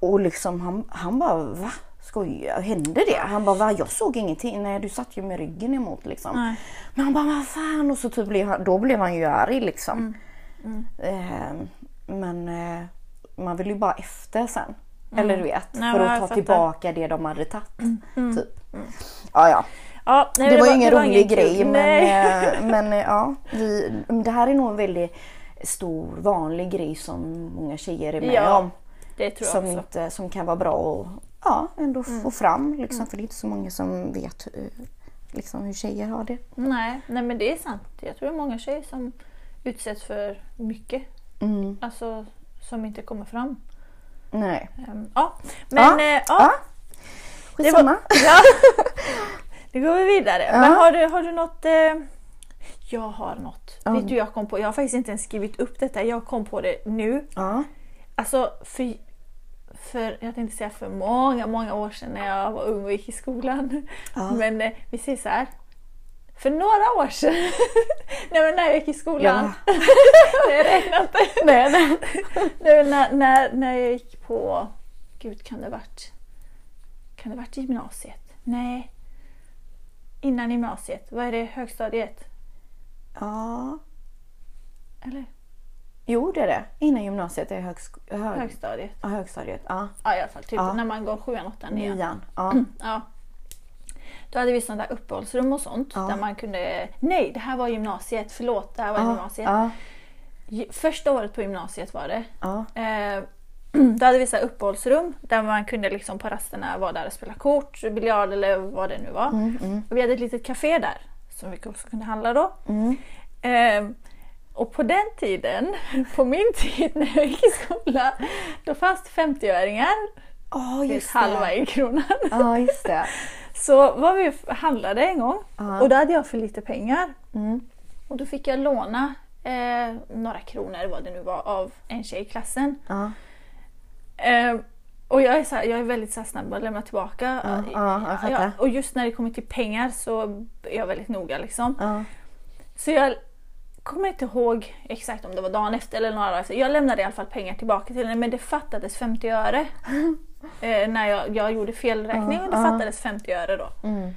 Speaker 1: Och liksom han, han bara va? Skojar, hände det? Han bara va? Jag såg ingenting. Nej, du satt ju med ryggen emot liksom.
Speaker 2: Nej.
Speaker 1: Men han bara vad fan och så typ blev han, då blev han ju arg liksom.
Speaker 2: Mm.
Speaker 1: Eh, men eh, man vill ju bara efter sen. Eller du vet,
Speaker 2: Mm. Nej,
Speaker 1: för att
Speaker 2: men jag
Speaker 1: ta
Speaker 2: fattar. Mm.
Speaker 1: tillbaka det de hade tagit. Typ. Ja, ja.
Speaker 2: Ja, nej,
Speaker 1: Det, var ju ingen
Speaker 2: det
Speaker 1: rolig
Speaker 2: kul.
Speaker 1: grej men,
Speaker 2: Nej.
Speaker 1: eh, men eh, ja, vi, det här är nog en väldigt stor vanlig grej som många tjejer är med
Speaker 2: Ja,
Speaker 1: om.
Speaker 2: det tror jag
Speaker 1: Som,
Speaker 2: också. Mm.
Speaker 1: inte, som kan vara bra att ja, ändå få fram liksom, för det är inte så många som vet hur, liksom, hur tjejer har det.
Speaker 2: Nej, nej, men det är sant. Jag tror det är många tjejer som utsätts för mycket. Alltså, som inte kommer fram.
Speaker 1: Nej.
Speaker 2: Ehm, Ja, men...
Speaker 1: Ja.
Speaker 2: eh, ja.
Speaker 1: Ja. Skitsamma.
Speaker 2: Ja. Nu går vi vidare. Men har du, har du något... Eh... Jag har något.
Speaker 1: Ja.
Speaker 2: Vet du, jag kom på... Jag har faktiskt inte ens skrivit upp detta. Jag kom på det nu.
Speaker 1: Ja.
Speaker 2: Alltså, för... För, jag tänkte säga för många, många år sedan när jag var ung och gick i skolan.
Speaker 1: Ja.
Speaker 2: Men eh, vi säger så här. För några år sedan, nej, men när jag gick i skolan, det räknar inte.
Speaker 1: Nej, nej.
Speaker 2: Nej, men när, när, när jag gick på... Gud, kan det varit... Kan det varit gymnasiet? Nej. Innan gymnasiet. Vad är det? Högstadiet?
Speaker 1: Ja.
Speaker 2: Eller?
Speaker 1: Jo det är det. Innan gymnasiet är högsk- hög-
Speaker 2: Högstadiet.
Speaker 1: ja, högstadiet. Ja.
Speaker 2: Ja, i alla fall. Typ
Speaker 1: Ja.
Speaker 2: när man går sjuan, åttan, nian.
Speaker 1: Nian. Ja.
Speaker 2: Ja. Då hade vi sådana där uppehållsrum och sånt.
Speaker 1: Ja.
Speaker 2: Där man kunde... Nej, det här var gymnasiet. Förlåt, det här var
Speaker 1: Ja.
Speaker 2: gymnasiet.
Speaker 1: Ja.
Speaker 2: Gy- Första året på gymnasiet var det.
Speaker 1: Ja.
Speaker 2: Eh, då hade vi så här uppehållsrum där man kunde liksom på rasterna vara där och spela kort, biljard eller vad det nu var.
Speaker 1: Mm,
Speaker 2: Och vi hade ett litet café där som vi också kunde handla då.
Speaker 1: mm.
Speaker 2: Eh, och på den tiden, på min tid när jag gick i skolan, då fanns det 50-öringar,
Speaker 1: Ja,
Speaker 2: det är
Speaker 1: just
Speaker 2: halva
Speaker 1: det.
Speaker 2: i kronan.
Speaker 1: Ja, just det.
Speaker 2: Så var vi och handlade en gång
Speaker 1: Ja.
Speaker 2: och då hade jag för lite pengar.
Speaker 1: Mm.
Speaker 2: Och då fick jag låna eh, några kronor, vad det nu var, av en tjej i klassen.
Speaker 1: Ja.
Speaker 2: Ehm, och jag är, så här, jag är väldigt så här snabb att lämna tillbaka.
Speaker 1: Ja, ja, jag fattar.
Speaker 2: och just när det kommer till pengar så är jag väldigt noga. Liksom.
Speaker 1: Ja.
Speaker 2: Så jag kommer inte ihåg exakt om det var dagen efter eller några dagar efter. Jag lämnade i alla fall pengar tillbaka till henne men det fattades 50 öre. eh, när jag, jag gjorde felräkning
Speaker 1: Ja,
Speaker 2: och det
Speaker 1: ja.
Speaker 2: fattades 50 öre då.
Speaker 1: Mm.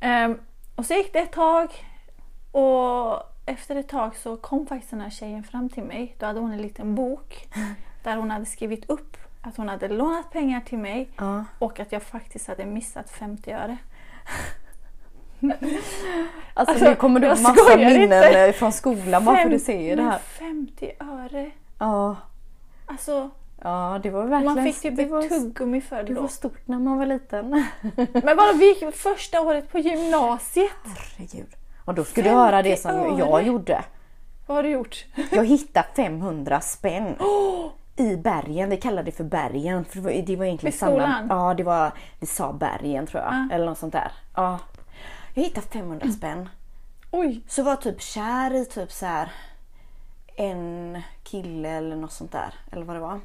Speaker 2: Ehm, och så gick det ett tag och efter ett tag så kom faktiskt den här tjejen fram till mig. Då hade hon en liten bok där hon hade skrivit upp att hon hade lånat pengar till mig
Speaker 1: Ja.
Speaker 2: och att jag faktiskt hade missat 50 öre.
Speaker 1: Alltså,
Speaker 2: Alltså,
Speaker 1: nu kommer du
Speaker 2: jag
Speaker 1: massa
Speaker 2: skojar
Speaker 1: minnen
Speaker 2: inte.
Speaker 1: eh, från skolan bara för
Speaker 2: Fem-
Speaker 1: du säger det
Speaker 2: men
Speaker 1: här.
Speaker 2: 50 öre!
Speaker 1: Ja,
Speaker 2: Alltså,
Speaker 1: ja det var verkligen...
Speaker 2: man fick typ
Speaker 1: det var,
Speaker 2: ett tuggummi för
Speaker 1: det
Speaker 2: det
Speaker 1: var
Speaker 2: då.
Speaker 1: stort när man var liten.
Speaker 2: Men bara vi gick första året på gymnasiet.
Speaker 1: Herregud. Och då skulle du
Speaker 2: 50
Speaker 1: höra det som jag
Speaker 2: öre.
Speaker 1: gjorde.
Speaker 2: Vad har du gjort?
Speaker 1: Jag hittade 500 spänn. I bergen, vi kallade det för bergen. För det var, det var egentligen
Speaker 2: Vid skolan? Ah.
Speaker 1: samma- Ja, det var, vi sa bergen tror jag. Eller något sånt där. Ja. Jag hittade 500 spänn.
Speaker 2: Oj!
Speaker 1: Så var jag typ kär i typ så här en kille eller något sånt där. Eller vad det var.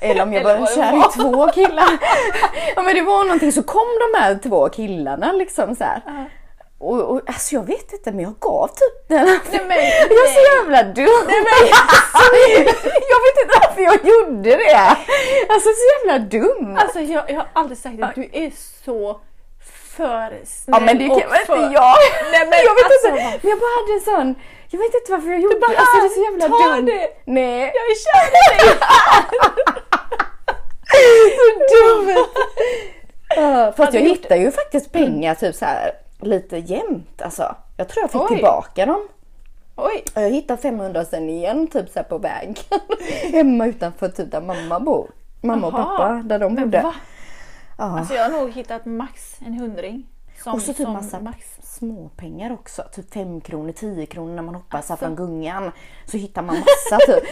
Speaker 1: Eller om jag
Speaker 2: Eller
Speaker 1: var
Speaker 2: vad det
Speaker 1: kär
Speaker 2: var.
Speaker 1: i två killar. ja men det var någonting så kom de här två killarna liksom så här. Och, och alltså jag vet inte men jag gav typ den här
Speaker 2: Nej, men,
Speaker 1: jag är så jävla dum! jag vet inte varför jag gjorde det! Alltså så jävla dum!
Speaker 2: Alltså jag, jag har aldrig sagt att du är så för snäll
Speaker 1: Ja men det
Speaker 2: och
Speaker 1: kan väl
Speaker 2: för...
Speaker 1: inte jag!
Speaker 2: Nej, men
Speaker 1: jag vet
Speaker 2: alltså,
Speaker 1: inte, men jag bara hade en sån... Jag vet inte varför jag gjorde det.
Speaker 2: bara, "Ah,
Speaker 1: Alltså det är så jävla
Speaker 2: "Ta
Speaker 1: dumt!
Speaker 2: det."
Speaker 1: Nej!
Speaker 2: Jag är kär i dig!
Speaker 1: Så dum! Ja, Fast
Speaker 2: Hade
Speaker 1: jag
Speaker 2: du gjort- Mm.
Speaker 1: hittar ju faktiskt pengar typ så här lite jämnt alltså. Jag tror jag fick
Speaker 2: Oj.
Speaker 1: tillbaka dem.
Speaker 2: Oj!
Speaker 1: Och Jag hittade 500 sen igen typ så här på vägen. Hemma utanför typ där mamma bor. Mamma och
Speaker 2: Jaha.
Speaker 1: pappa där de
Speaker 2: Men
Speaker 1: bodde.
Speaker 2: va?
Speaker 1: Ja.
Speaker 2: Alltså jag har nog hittat max en hundring. Som,
Speaker 1: Och så typ
Speaker 2: som
Speaker 1: massa
Speaker 2: max.
Speaker 1: småpengar också. Typ 5 kronor, 10 kronor när man hoppar så här
Speaker 2: Alltså.
Speaker 1: från gungan. Så hittar man massa typ.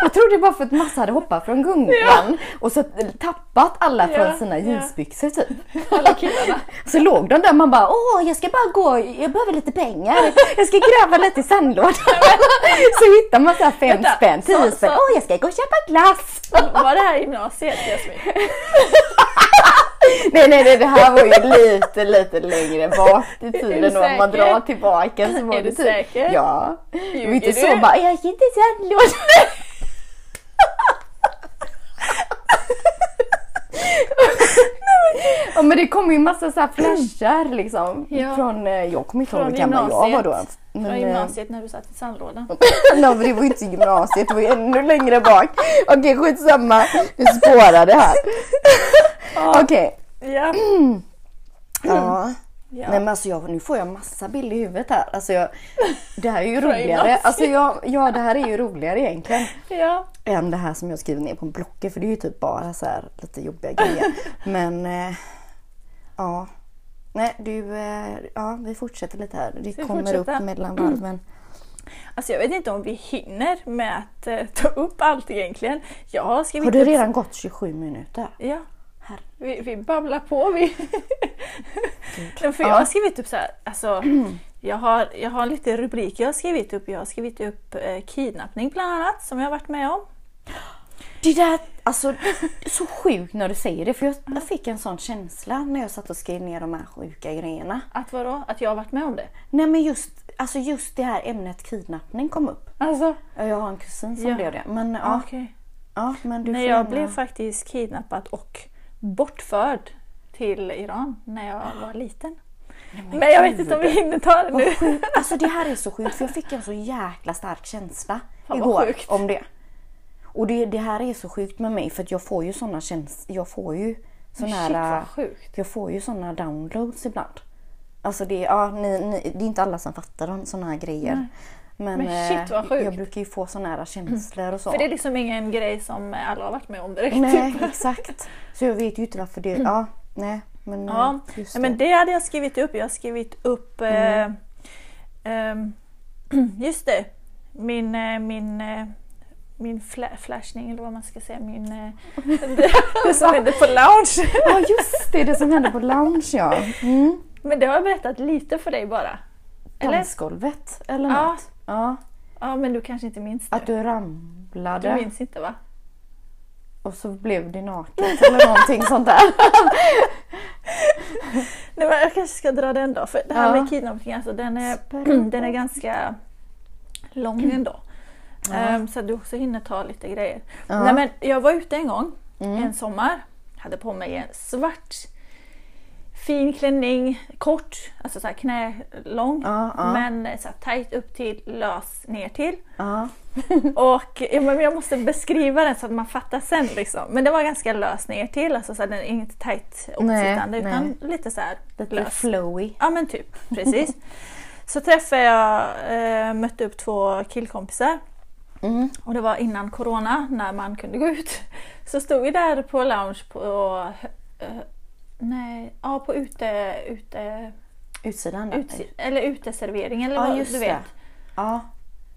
Speaker 1: Jag tror det var för att massa hade hoppat från gungan och så tappat alla från
Speaker 2: Ja,
Speaker 1: sina
Speaker 2: ja.
Speaker 1: jeansbyxor typ.
Speaker 2: Alla killarna.
Speaker 1: Så låg de där man bara åh jag ska bara gå, jag behöver lite pengar. Jag ska gräva lite i sandlådan. Så hittar man så här 5
Speaker 2: Vänta,
Speaker 1: spänn, 10
Speaker 2: så-
Speaker 1: spänn.
Speaker 2: så-
Speaker 1: Åh jag ska gå och köpa glass.
Speaker 2: Var det här i gymnasiet Jasmin?
Speaker 1: Nej nej nej, det här var ju lite lite längre bak i tiden och om man
Speaker 2: säker?
Speaker 1: drar tillbaka så var
Speaker 2: Är
Speaker 1: det
Speaker 2: du
Speaker 1: typ-
Speaker 2: säker?
Speaker 1: Ja. Det var
Speaker 2: Ljuger
Speaker 1: inte
Speaker 2: du?
Speaker 1: så bara, jag gick inte i sandlådan. Ja men det kom ju massa så här flashar liksom.
Speaker 2: Ja.
Speaker 1: Från, eh, jag kommer inte ihåg hur
Speaker 2: Från
Speaker 1: gammal jag var då.
Speaker 2: gymnasiet.
Speaker 1: Men,
Speaker 2: Från
Speaker 1: eh,
Speaker 2: gymnasiet när du satt i sandlådan.
Speaker 1: Nej men det var ju inte gymnasiet, det var ju ännu längre bak. Okej skitsamma, vi spårar det här. Okej.
Speaker 2: Ja.
Speaker 1: Ja.
Speaker 2: Ja.
Speaker 1: Nej men alltså jag, nu får jag massa bilder i huvudet här. Alltså jag, det här är ju
Speaker 2: Från
Speaker 1: roligare.
Speaker 2: gymnasiet.
Speaker 1: Alltså jag, ja det här är ju roligare egentligen.
Speaker 2: ja.
Speaker 1: Än det här som jag skriver ner på en blocke för det är ju typ bara så här lite jobbiga grejer. Men eh, ja. Nej du, eh, ja vi fortsätter lite här. Det
Speaker 2: Ska vi
Speaker 1: kommer
Speaker 2: fortsätta?
Speaker 1: upp mellan varven.
Speaker 2: Alltså jag vet inte om vi hinner med att eh, ta upp allt egentligen. Jag har skrivit
Speaker 1: Har du
Speaker 2: upp-
Speaker 1: redan gått 27 minuter?
Speaker 2: Ja.
Speaker 1: Här.
Speaker 2: Vi, vi babblar på. Vi. Nej, för
Speaker 1: Typ. Ja.
Speaker 2: jag har skrivit upp så här, alltså, jag, har, jag har lite rubriker jag har skrivit upp. Jag har skrivit upp eh, kidnappning bland annat som jag har varit med om.
Speaker 1: Det där, alltså det är så sjukt när du säger det för jag, jag fick en sån känsla när jag satt och skrev ner de här sjuka grejerna.
Speaker 2: Att vadå? Att jag har varit med om det?
Speaker 1: Nej men just, alltså just det här ämnet kidnappning kom upp.
Speaker 2: Alltså,
Speaker 1: Ja, Jag har en kusin som
Speaker 2: Ja.
Speaker 1: blev det. Men, ja,
Speaker 2: okej.
Speaker 1: ja, men du
Speaker 2: Nej,
Speaker 1: får
Speaker 2: jag
Speaker 1: gärna-
Speaker 2: blev faktiskt kidnappad och bortförd till Iran när jag var liten. Men jag vet inte om vi hinner ta det nu.
Speaker 1: Vad sjukt. Alltså det här är så sjukt för jag fick en så jäkla stark känsla
Speaker 2: vad
Speaker 1: igår
Speaker 2: sjukt.
Speaker 1: om det. Och det, det här är så sjukt med mig för att jag får ju såna känslor, jag får ju såna
Speaker 2: Shit
Speaker 1: här,
Speaker 2: vad sjukt.
Speaker 1: jag får ju såna downloads ibland. Alltså det, ja, ni, ni, det är inte alla som fattar om såna här grejer. Men,
Speaker 2: Men shit,
Speaker 1: eh,
Speaker 2: vad sjukt.
Speaker 1: jag brukar ju få såna här känslor och så.
Speaker 2: För det är liksom ingen grej som alla har varit med om direkt.
Speaker 1: Nej, exakt. Så jag vet ju inte varför det... Ja, nej. Men,
Speaker 2: Mm. Ja,
Speaker 1: eh, just Mm.
Speaker 2: men det hade jag skrivit upp. Jag har skrivit upp... eh, ehm, just det. Min, eh, min, eh, min fla- flashning eller vad man ska säga. Min, eh, det, det som hände på lounge.
Speaker 1: Ja, just det. Det som hände på lounge, ja. Mm.
Speaker 2: Men det har jag berättat lite för dig bara. Eller?
Speaker 1: Dansgolvet eller
Speaker 2: Ja.
Speaker 1: något. Ja.
Speaker 2: Ja, men du kanske inte minns det.
Speaker 1: Att du
Speaker 2: Du
Speaker 1: ramlade
Speaker 2: minns inte va?
Speaker 1: och så blev det naket eller någonting sånt där.
Speaker 2: Nej, men jag kanske ska dra den då. För det här
Speaker 1: Ja.
Speaker 2: med kidnappning, alltså, den, är,
Speaker 1: Spännande.
Speaker 2: den är ganska lång ändå.
Speaker 1: Ja.
Speaker 2: Ehm, så att du också hinner ta lite grejer.
Speaker 1: Ja.
Speaker 2: Nej, men jag var ute en gång
Speaker 1: Mm.
Speaker 2: en sommar. Hade på mig en svart fin klänning, kort, alltså så här knälång.
Speaker 1: Ja, ja.
Speaker 2: Men så här tajt upp till, lös ner till.
Speaker 1: Ja.
Speaker 2: Och ja, men jag måste beskriva den så att man fattar sen. Liksom. Men det var ganska lös ner till. Alltså, så här, den är inte tajt uppsittande
Speaker 1: Nej,
Speaker 2: utan lite så här
Speaker 1: Lite
Speaker 2: lös.
Speaker 1: flowy.
Speaker 2: Ja men typ, precis. Så träffade jag, eh, mötte upp två killkompisar
Speaker 1: Mm.
Speaker 2: och det var innan corona när man kunde gå ut. Så stod vi där på lounge på, eh, nej, ja, på ute, ute,
Speaker 1: Utsidan.
Speaker 2: ut, eller uteservering eller
Speaker 1: Ja,
Speaker 2: vad
Speaker 1: just
Speaker 2: du
Speaker 1: det.
Speaker 2: vet.
Speaker 1: Ja,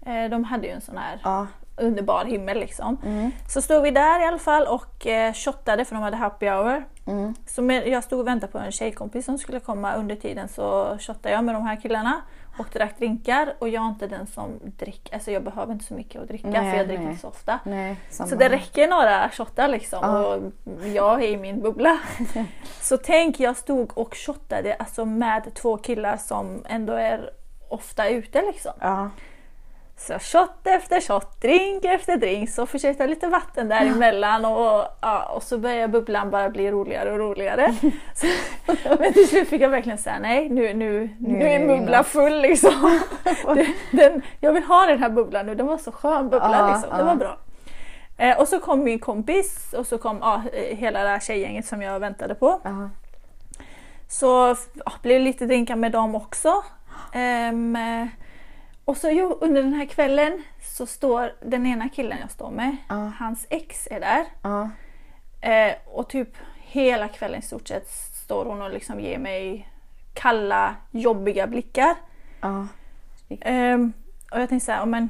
Speaker 2: Eh, de hade ju en sån här
Speaker 1: ja.
Speaker 2: underbar himmel liksom.
Speaker 1: Mm.
Speaker 2: Så stod vi där i alla fall och eh, shottade för de hade happy hour.
Speaker 1: Mm.
Speaker 2: Så med, jag stod och väntade på en tjejkompis som skulle komma. Under tiden så shottade jag med de här killarna och drack drinkar. Och jag är inte den som dricker, alltså jag behöver inte så mycket att dricka
Speaker 1: Nej,
Speaker 2: för jag dricker
Speaker 1: nej.
Speaker 2: inte så ofta.
Speaker 1: Nej,
Speaker 2: Så
Speaker 1: samma
Speaker 2: det
Speaker 1: här.
Speaker 2: räcker några shottar liksom
Speaker 1: Ja.
Speaker 2: och jag är i min bubbla. Så tänk, jag stod och shottade alltså med två killar som ändå är ofta ute liksom.
Speaker 1: Ja.
Speaker 2: Så shot efter shot, drink efter drink, så försökte jag lite vatten däremellan och, ja, och så började bubblan bara bli roligare och roligare. Så, men till slut fick jag verkligen säga nej, nu, nu, nu
Speaker 1: är
Speaker 2: är
Speaker 1: det
Speaker 2: bubblan
Speaker 1: innan.
Speaker 2: full liksom. Den- den, jag vill ha den här bubblan nu, den var så skön bubbla
Speaker 1: Ja,
Speaker 2: liksom, det
Speaker 1: ja.
Speaker 2: var bra. Eh, och så kom min kompis och så kom ja, hela det här tjejgänget som jag väntade på.
Speaker 1: Ja.
Speaker 2: Så f- ja, blev det lite drinkar med dem också. Ehm, eh, och så jo, under den här kvällen så står den ena killen jag står med,
Speaker 1: Ja.
Speaker 2: hans ex är där.
Speaker 1: Ja.
Speaker 2: Eh, och typ hela kvällen i stort sett står hon och liksom ger mig kalla, jobbiga blickar.
Speaker 1: Ja.
Speaker 2: Ehm, och jag tänkte så här, ja, men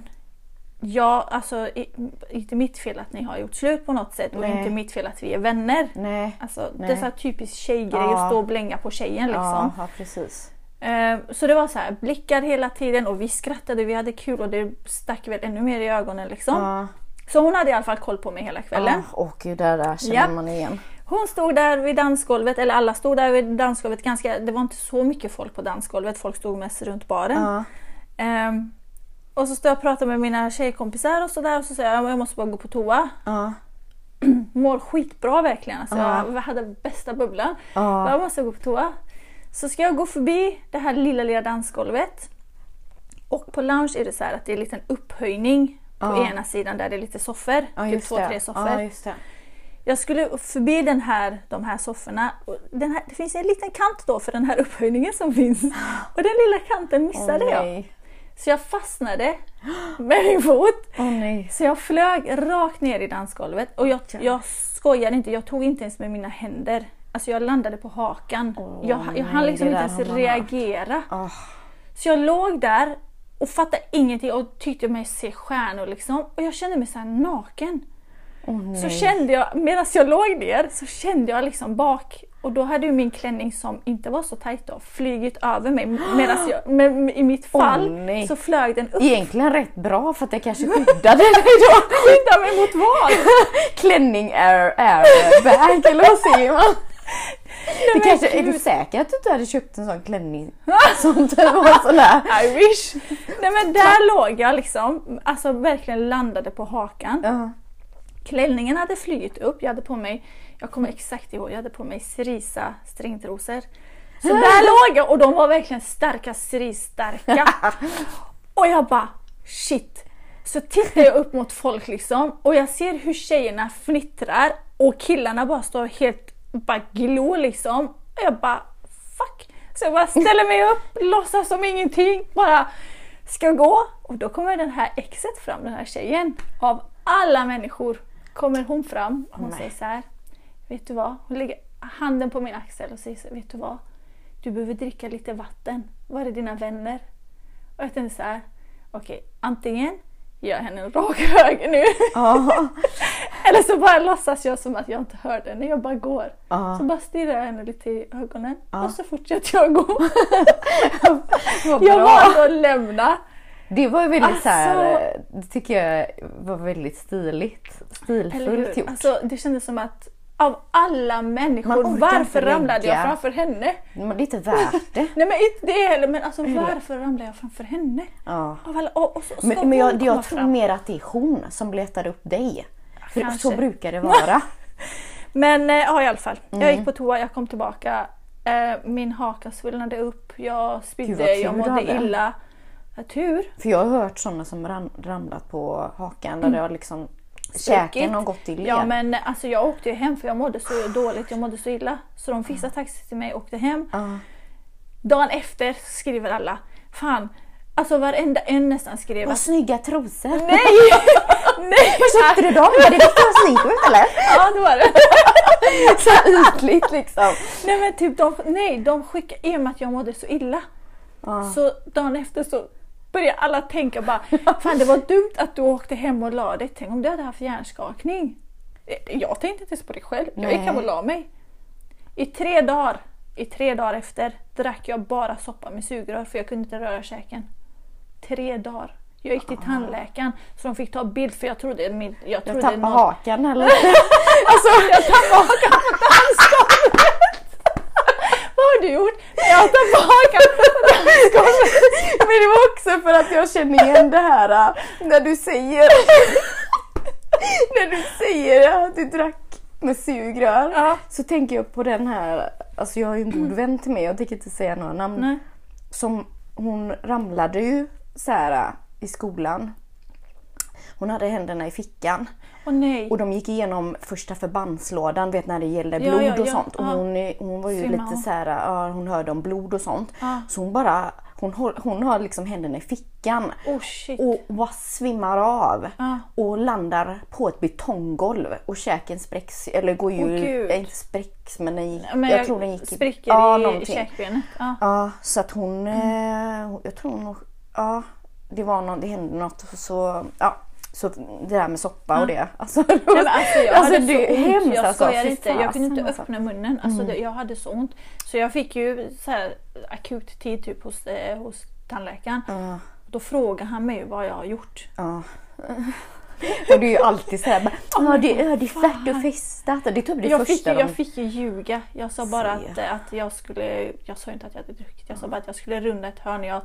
Speaker 2: ja, alltså i, inte mitt fel att ni har gjort slut på något sätt och
Speaker 1: Nej.
Speaker 2: inte mitt fel att vi är vänner.
Speaker 1: Nej.
Speaker 2: Alltså, det är
Speaker 1: Nej.
Speaker 2: så här typiskt tjejgrej
Speaker 1: Ja.
Speaker 2: att stå och blänga på tjejen liksom.
Speaker 1: Ja, ja, precis.
Speaker 2: Eh, Så det var så här, blickar hela tiden och vi skrattade, vi hade kul och det stack väl ännu mer i ögonen liksom.
Speaker 1: Ja.
Speaker 2: Så hon hade i alla fall koll på mig hela kvällen.
Speaker 1: Ja, och gud, där, där känner
Speaker 2: Ja.
Speaker 1: man igen.
Speaker 2: Hon stod där vid dansgolvet, eller alla stod där vid dansgolvet, ganska, det var inte så mycket folk på dansgolvet, folk stod mest runt baren.
Speaker 1: Ja.
Speaker 2: Ehm, och så står jag och pratar med mina tjejkompisar och sådär och så säger jag jag måste bara gå på toa.
Speaker 1: Ja.
Speaker 2: Mår skitbra verkligen, alltså,
Speaker 1: Ja.
Speaker 2: jag hade bästa bubblan.
Speaker 1: Ja.
Speaker 2: Jag måste gå på toa. Så ska jag gå förbi det här lilla, lilla dansgolvet. Och på lounge är det så här att det är en liten upphöjning på
Speaker 1: Ja.
Speaker 2: ena sidan där det är lite soffor.
Speaker 1: Ja,
Speaker 2: typ
Speaker 1: just
Speaker 2: två,
Speaker 1: det.
Speaker 2: tre soffor.
Speaker 1: Ja, just det.
Speaker 2: Jag skulle förbi den här, de här sofforna. Och den här, det finns en liten kant då för den här upphöjningen som finns. Och den lilla kanten missade
Speaker 1: Åh,
Speaker 2: jag.
Speaker 1: nej.
Speaker 2: Så jag fastnade med min fot.
Speaker 1: Åh nej.
Speaker 2: Så jag flög rakt ner i dansgolvet. Och jag,
Speaker 1: Jävlar.
Speaker 2: jag skojar inte, jag tog inte ens med mina händer. Alltså jag landade på hakan.
Speaker 1: Åh,
Speaker 2: jag jag hann
Speaker 1: nej,
Speaker 2: liksom
Speaker 1: det
Speaker 2: inte
Speaker 1: där
Speaker 2: ens
Speaker 1: har man hört.
Speaker 2: reagera.
Speaker 1: Ah,
Speaker 2: Så jag låg där och fattade ingenting och tyckte mig se stjärnor liksom. Och jag kände mig så här naken.
Speaker 1: åh, nej.
Speaker 2: Så kände jag, medan jag låg ner, så kände jag liksom bak. Och då hade ju min klänning som inte var så tajt då flugit över mig. Medan jag, men i mitt fall
Speaker 1: Åh, nej.
Speaker 2: så flög den upp.
Speaker 1: Egentligen rätt bra för att det kanske skyddade dig då.
Speaker 2: Skydda mig mot vad?
Speaker 1: Klänning air, airbag eller vad säger man? Det kanske, är du säker att du inte hade köpt en sån klänning? Sånt där var sån där.
Speaker 2: I wish! Nej men där låg jag liksom, alltså verkligen landade på hakan.
Speaker 1: Ja.
Speaker 2: Klänningen hade flugit upp, jag hade på mig, jag kommer exakt ihåg, jag hade på mig cerisa stringtrosor. Så där låg jag och de var verkligen starka, cerisstarka. Och jag bara shit! Så tittar jag upp mot folk liksom och jag ser hur tjejerna fnittrar och killarna bara står helt bara glor liksom. Och jag bara fuck! Så jag bara ställer mig upp, låtsas som ingenting, bara ska gå. Och då kommer den här exet fram, den här tjejen. Av alla människor kommer hon fram. Hon
Speaker 1: Nej.
Speaker 2: säger så här. Vet du vad? Hon lägger handen på min axel och säger så här, Vet du vad? Du behöver dricka lite vatten. Var är dina vänner? Och jag tänkte så här, okej, antingen gör jag henne en rak höger nu
Speaker 1: Ja.
Speaker 2: eller så bara låtsas jag som att jag inte hörde henne, jag bara går.
Speaker 1: Ja.
Speaker 2: Så bara stirrar jag henne lite i ögonen
Speaker 1: Ja.
Speaker 2: och så fortsätter jag gå.
Speaker 1: Vad
Speaker 2: Jag
Speaker 1: bra.
Speaker 2: valde att lämna.
Speaker 1: Det var ju väldigt
Speaker 2: Alltså-
Speaker 1: så här, eh, det tycker jag var väldigt stiligt.
Speaker 2: Eller
Speaker 1: Stilfullt
Speaker 2: hur?
Speaker 1: gjort.
Speaker 2: Alltså, det kändes som att av alla
Speaker 1: Man orkar
Speaker 2: människor,
Speaker 1: inte
Speaker 2: varför ramlade jag
Speaker 1: lägga.
Speaker 2: framför henne?
Speaker 1: Men det är inte värt det.
Speaker 2: Nej men inte det heller, men alltså varför ramlade jag framför henne?
Speaker 1: Ja.
Speaker 2: Av alla, och, och så ska
Speaker 1: Men, men
Speaker 2: hon
Speaker 1: jag,
Speaker 2: komma
Speaker 1: jag tror
Speaker 2: fram.
Speaker 1: mer att det är hon som letar upp dig. För
Speaker 2: kanske.
Speaker 1: så brukar det vara. Mm.
Speaker 2: Men eh, ja, i alla fall. Jag gick på toa, jag kom tillbaka Eh, min haka svullnade upp, jag
Speaker 1: Gud, vad
Speaker 2: spydde,
Speaker 1: tur
Speaker 2: jag
Speaker 1: du
Speaker 2: mådde
Speaker 1: hade.
Speaker 2: illa. Ja, tur.
Speaker 1: För jag har hört sådana som ram, ramlat på hakan där det har liksom käken har gått i led.
Speaker 2: Mm. Ja men alltså jag åkte ju hem för jag mådde så dåligt, jag mådde så illa. Så de fixade taxi till mig och åkte hem.
Speaker 1: Ja.
Speaker 2: Dagen efter skriver alla. Fan, alltså varenda en nästan skrev
Speaker 1: Vad
Speaker 2: att
Speaker 1: snygga trosor!
Speaker 2: nej! nej!
Speaker 1: Var köpte du dem? Var det Victoria's Secret eller?
Speaker 2: Ja det var det.
Speaker 1: Så ytligt liksom.
Speaker 2: Nej men typ de, nej, de skickade, i och med att jag mådde så illa. Så dagen efter så började alla tänka bara, fan det var dumt att du åkte hem och la dig. Tänk om du hade haft hjärnskakning. Eh, Jag tänkte inte ens på det själv. Jag gick
Speaker 1: Nej.
Speaker 2: hem och la mig. I tre dagar, i tre dagar efter drack jag bara soppa med sugrör för jag kunde inte röra käken. Tre dagar. Jag gick till tandläkaren så de fick ta bild för jag trodde min, jag
Speaker 1: Ah. Jag
Speaker 2: trodde
Speaker 1: tappade
Speaker 2: någon-
Speaker 1: hakan eller?
Speaker 2: Alltså jag tappade hakan på dansgolvet! Vad har du gjort? Nej, Jag tappade hakan på dansgolvet!
Speaker 1: Men det var också för att jag känner igen det här äh, när du säger När du säger att du drack med sugrör
Speaker 2: Ja.
Speaker 1: så tänker jag på den här, alltså jag har ju en god vän till mig, jag tänker inte säga några namn.
Speaker 2: Nej.
Speaker 1: Som hon ramlade ju så här äh, i skolan. Hon hade händerna i fickan.
Speaker 2: Åh nej.
Speaker 1: Och de gick igenom första förbandslådan, vet när det gällde
Speaker 2: Ja,
Speaker 1: blod
Speaker 2: ja,
Speaker 1: och
Speaker 2: ja,
Speaker 1: sånt. Och
Speaker 2: ja.
Speaker 1: hon, är- hon var ju
Speaker 2: Simmar
Speaker 1: lite
Speaker 2: hon.
Speaker 1: så här, ja, hon hörde om blod och sånt.
Speaker 2: Ja.
Speaker 1: Så hon bara, hon, håll- hon har liksom händerna i fickan.
Speaker 2: Oh shit.
Speaker 1: Och bara svimmar av.
Speaker 2: Ja.
Speaker 1: Och landar på ett betonggolv och käken spräcks, eller går ju,
Speaker 2: Åh, gud.
Speaker 1: eh, inte spräcks men den gick,
Speaker 2: Men
Speaker 1: jag, tror den gick i-
Speaker 2: spricker
Speaker 1: ja,
Speaker 2: i, i
Speaker 1: någonting.
Speaker 2: käkbenet. Ja.
Speaker 1: Ja, så att
Speaker 2: Mm.
Speaker 1: hon, eh, jag tror hon, ja det var någon, det hände något och så, ja. Så det där med soppa och det. Alltså,
Speaker 2: Nej, Mm. men alltså, jag
Speaker 1: Alltså,
Speaker 2: hade
Speaker 1: det
Speaker 2: så
Speaker 1: är
Speaker 2: ont,
Speaker 1: hemskt,
Speaker 2: jag
Speaker 1: alltså.
Speaker 2: skojar
Speaker 1: Fy
Speaker 2: inte. Jag kunde inte
Speaker 1: fasen, alltså.
Speaker 2: öppna munnen. Alltså, det, jag hade så ont. Så jag fick ju så här, akut tid typ, hos, eh, hos tandläkaren.
Speaker 1: Ja.
Speaker 2: Då frågade han mig vad jag har gjort.
Speaker 1: Ja. Och det är ju alltid så här, bara, ja det är ödiflärt och festat. Det är typ det
Speaker 2: jag, fick,
Speaker 1: första
Speaker 2: ju- jag
Speaker 1: de...
Speaker 2: fick ju ljuga. Jag sa bara
Speaker 1: Se.
Speaker 2: att, att jag skulle... Jag sa ju inte att jag hade druckit. Jag sa bara att jag skulle runda ett hörn. Jag,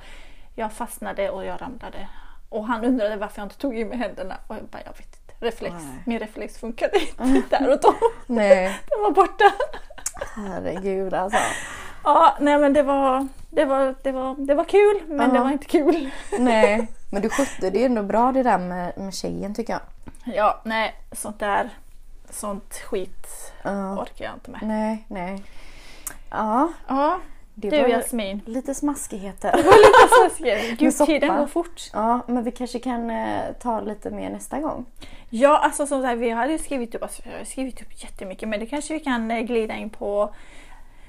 Speaker 2: jag fastnade och jag ramlade. Och han undrade varför jag inte tog i med händerna. Och jag bara, jag vet inte. Reflex.
Speaker 1: Nej.
Speaker 2: Min reflex funkade inte där och då.
Speaker 1: Nej,
Speaker 2: Den var borta.
Speaker 1: herregud alltså.
Speaker 2: Ja, nej men det var... Det var, det var, det var kul, men det
Speaker 1: Ja.
Speaker 2: var inte kul.
Speaker 1: Nej. Men du skötte det ändå bra det där med, med tjejen tycker jag.
Speaker 2: Ja, nej. Sånt där... Sånt skit
Speaker 1: Ja. Mm.
Speaker 2: orkar jag inte med.
Speaker 1: Nej, nej. Ja,
Speaker 2: Ja,
Speaker 1: det
Speaker 2: du
Speaker 1: var
Speaker 2: Jasmin.
Speaker 1: lite smaskigheter.
Speaker 2: Gud,
Speaker 1: soppa.
Speaker 2: tiden går fort.
Speaker 1: Ja, men vi kanske kan eh, ta lite mer nästa gång.
Speaker 2: Ja, alltså som sagt, vi hade ju skrivit upp, alltså, jag har skrivit upp jättemycket men det kanske vi kan eh, glida in på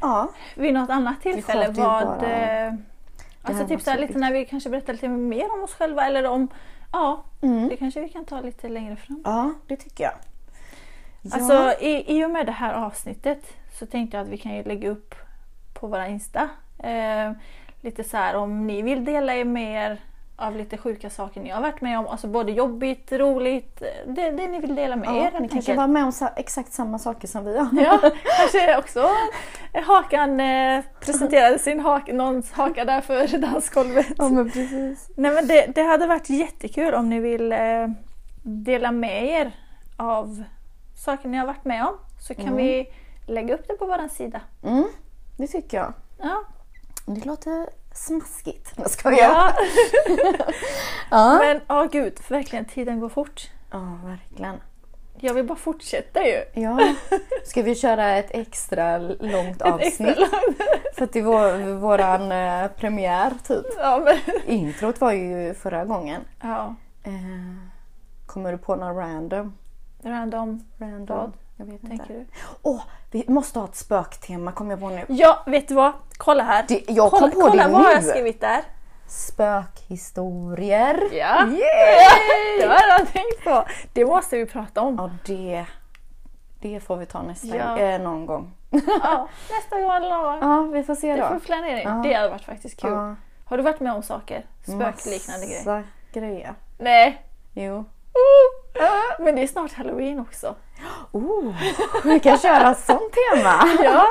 Speaker 1: Ja,
Speaker 2: vid något annat tillfälle.
Speaker 1: sköter ju
Speaker 2: Vad,
Speaker 1: bara
Speaker 2: eh, alltså
Speaker 1: här
Speaker 2: typ så här,
Speaker 1: var så
Speaker 2: lite när vi kanske berättar lite mer om oss själva eller om, ja,
Speaker 1: Mm.
Speaker 2: det kanske vi kan ta lite längre fram.
Speaker 1: ja det tycker jag. Ja.
Speaker 2: Alltså i, i och med det här avsnittet så tänkte jag att vi kan ju lägga upp på våra Insta eh, lite så här om ni vill dela er med er av lite sjuka saker ni har varit med om, alltså både jobbigt, roligt, eh, det, det ni vill dela med er
Speaker 1: ja, ni
Speaker 2: helt
Speaker 1: kanske
Speaker 2: enkelt.
Speaker 1: var med om sa- exakt samma saker som vi har.
Speaker 2: Ja, kanske också Hakan eh, presenterade sin hak, någons haka där för dansgolvet.
Speaker 1: Ja, men precis.
Speaker 2: Nej men det, det hade varit jättekul om ni vill eh, dela med er av saker ni har varit med om. Så kan vi lägga upp det på vår sida.
Speaker 1: Mm, det tycker jag.
Speaker 2: Ja.
Speaker 1: Det låter smaskigt. Jag skojar.
Speaker 2: ja.
Speaker 1: Ja.
Speaker 2: Men åh gud, verkligen tiden går fort.
Speaker 1: ja, verkligen.
Speaker 2: Jag vill bara fortsätta ju.
Speaker 1: Ja. Ska vi köra ett extra långt avsnitt?
Speaker 2: Extra långt.
Speaker 1: För att det var våran eh, premiär typ.
Speaker 2: Ja, men,
Speaker 1: Introt var ju förra gången.
Speaker 2: ja.
Speaker 1: Eh, kommer du på någon random?
Speaker 2: Random.
Speaker 1: random?
Speaker 2: Vad
Speaker 1: Jag vet inte.
Speaker 2: Tänker du?
Speaker 1: Åh, vi måste ha ett spöktema kommer jag på nu.
Speaker 2: Ja, vet du vad? Kolla här.
Speaker 1: Det, jag kom
Speaker 2: kolla
Speaker 1: på
Speaker 2: kolla
Speaker 1: det
Speaker 2: vad
Speaker 1: nu.
Speaker 2: jag har skrivit där.
Speaker 1: Spökhistorier.
Speaker 2: Ja.
Speaker 1: Yeah!
Speaker 2: Det har jag tänkt på. Det måste vi prata om.
Speaker 1: Ja, det, det får vi ta nästa
Speaker 2: Ja.
Speaker 1: eh, någon gång.
Speaker 2: Ja, nästa gång eller någon gång.
Speaker 1: Ja, vi får se
Speaker 2: Det
Speaker 1: då.
Speaker 2: får vi planera in.
Speaker 1: Ja.
Speaker 2: Det hade varit faktiskt kul.
Speaker 1: Ja,
Speaker 2: Har du varit med om saker? Spökliknande grejer?
Speaker 1: Massa grejer.
Speaker 2: Nej.
Speaker 1: Jo.
Speaker 2: Oh. Ah, Men det är snart halloween också.
Speaker 1: Oh, vi kan köra sånt tema!
Speaker 2: Ja.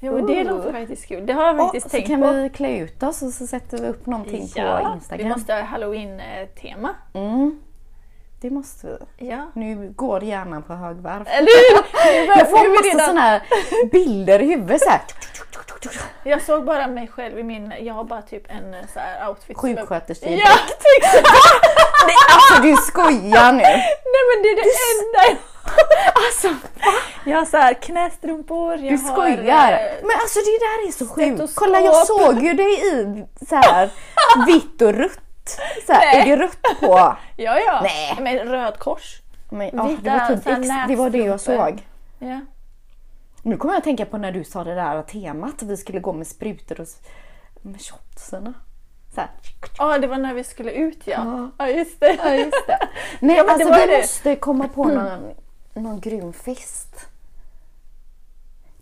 Speaker 2: ja men det
Speaker 1: Oh.
Speaker 2: låter faktiskt kul. Det har jag
Speaker 1: Ja,
Speaker 2: faktiskt
Speaker 1: så
Speaker 2: tänkt
Speaker 1: kan
Speaker 2: på.
Speaker 1: vi klä ut oss och så sätter vi upp någonting på
Speaker 2: ja,
Speaker 1: Instagram.
Speaker 2: vi måste ha halloween-tema.
Speaker 1: Mm, Det måste vi.
Speaker 2: Ja.
Speaker 1: Nu går hjärnan på högvarv.
Speaker 2: Eller hur?
Speaker 1: Jag
Speaker 2: Nu är vi
Speaker 1: får massa
Speaker 2: redan-
Speaker 1: sådana här bilder i huvudet så här.
Speaker 2: Jag såg bara mig själv i min, jag har bara typ en eh, så här outfit. som-
Speaker 1: Sjuksköterska.
Speaker 2: Ja, exakt!
Speaker 1: Nej, alltså du skojar nu!
Speaker 2: Nej men det är det enda jag
Speaker 1: Alltså
Speaker 2: Jag har så här knästrumpor, jag
Speaker 1: du
Speaker 2: har...
Speaker 1: skojar!
Speaker 2: eh,
Speaker 1: Men alltså det där är så sjukt.
Speaker 2: stetoskop.
Speaker 1: Kolla jag såg ju dig i så här vitt och rött. Så här,
Speaker 2: Nej.
Speaker 1: är det rött på?
Speaker 2: Ja, ja.
Speaker 1: Nej.
Speaker 2: Men röd kors.
Speaker 1: Men, ja, det,
Speaker 2: Vita,
Speaker 1: var typ,
Speaker 2: så här
Speaker 1: ex, det var det jag
Speaker 2: nässtrumpor.
Speaker 1: såg.
Speaker 2: Ja.
Speaker 1: Nu kommer jag att tänka på när du sa det där temat, att vi skulle gå med sprutor och s- med shotsarna. Så här.
Speaker 2: Ja, det var när vi skulle ut ja.
Speaker 1: Ja.
Speaker 2: Ja, just det.
Speaker 1: Ja, just det. Nej,
Speaker 2: men det
Speaker 1: alltså
Speaker 2: var
Speaker 1: vi
Speaker 2: det. Mm.
Speaker 1: måste komma på någon, någon grym fest.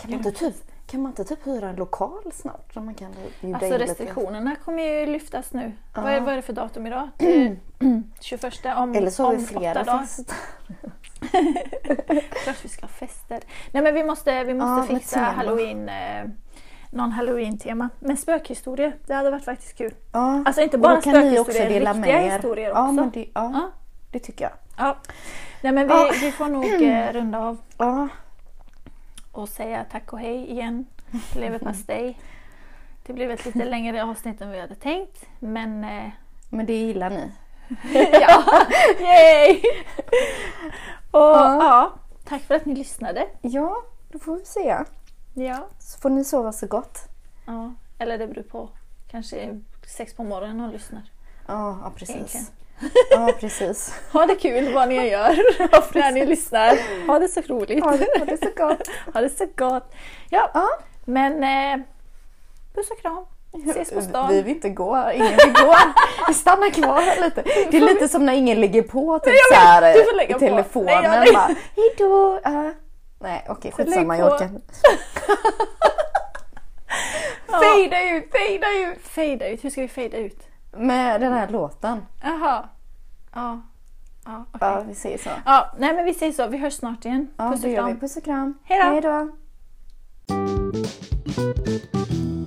Speaker 1: Kan man, inte typ, kan man inte typ hyra en lokal snart? Som man kan bjuda
Speaker 2: Alltså
Speaker 1: in lite?
Speaker 2: restriktionerna kommer ju lyftas nu.
Speaker 1: Ja.
Speaker 2: Vad, är, vad är det för datum idag? Det- 21 om,
Speaker 1: Eller så har
Speaker 2: om
Speaker 1: vi
Speaker 2: åtta
Speaker 1: flera
Speaker 2: dagar.
Speaker 1: fester.
Speaker 2: Klart vi ska ha fester. Nej men vi måste, vi
Speaker 1: Ja, med
Speaker 2: måste fixa
Speaker 1: tema.
Speaker 2: halloween. Eh, någon halloween-tema. Men spökhistorier, det hade varit faktiskt kul.
Speaker 1: Ja.
Speaker 2: Alltså inte
Speaker 1: och
Speaker 2: bara
Speaker 1: då kan ni också
Speaker 2: spökhistorier,
Speaker 1: dela
Speaker 2: riktiga
Speaker 1: med er.
Speaker 2: historier
Speaker 1: Ja,
Speaker 2: också.
Speaker 1: men det, ja,
Speaker 2: Ja.
Speaker 1: det tycker jag.
Speaker 2: Ja. Nej men vi,
Speaker 1: Ja.
Speaker 2: vi får nog eh, runda av
Speaker 1: Ja,
Speaker 2: och säga tack och hej igen. Leverpastej. Det blev ett lite längre avsnitt än vi hade tänkt. Men eh,
Speaker 1: men det gillar ni.
Speaker 2: ja, yay! Och
Speaker 1: Ja.
Speaker 2: ja. tack för att ni lyssnade.
Speaker 1: Ja, då får vi se.
Speaker 2: Ja.
Speaker 1: Så får ni sova så gott.
Speaker 2: ja. Eller det beror på. Kanske sex på morgonen och lyssnar.
Speaker 1: Ja, ja precis.
Speaker 2: Egentligen.
Speaker 1: Ja, precis.
Speaker 2: Ha det kul vad ni gör när ni lyssnar. Ha det så roligt.
Speaker 1: Ja, det- det är så gott.
Speaker 2: Ha det så gott. Ja,
Speaker 1: Ja.
Speaker 2: men eh, puss och kram. Ses på stan.
Speaker 1: Vi vill inte gå, ingen vill gå. Vi stannar kvar lite. Det är lite som när ingen lägger på typ
Speaker 2: jag
Speaker 1: så
Speaker 2: vet,
Speaker 1: här,
Speaker 2: du får lägga
Speaker 1: i
Speaker 2: på.
Speaker 1: telefonen.
Speaker 2: Nej, jag lägger-
Speaker 1: bara, Hejdå! Uh, nej okej,
Speaker 2: lägg
Speaker 1: skitsamma jag
Speaker 2: på.
Speaker 1: orkar inte.
Speaker 2: Ja.
Speaker 1: Fejda ut, fejda ut!
Speaker 2: Fejda ut. Hur ska vi fejda ut?
Speaker 1: Med den här låten.
Speaker 2: Jaha. Ja. Ja, okej.
Speaker 1: Ja, vi säger så.
Speaker 2: ja, nej men vi säger så. Vi hörs snart igen.
Speaker 1: Ja,
Speaker 2: Puss
Speaker 1: det
Speaker 2: och
Speaker 1: gör vi.
Speaker 2: kram.
Speaker 1: Puss och kram.
Speaker 2: Hejdå.
Speaker 1: Hejdå.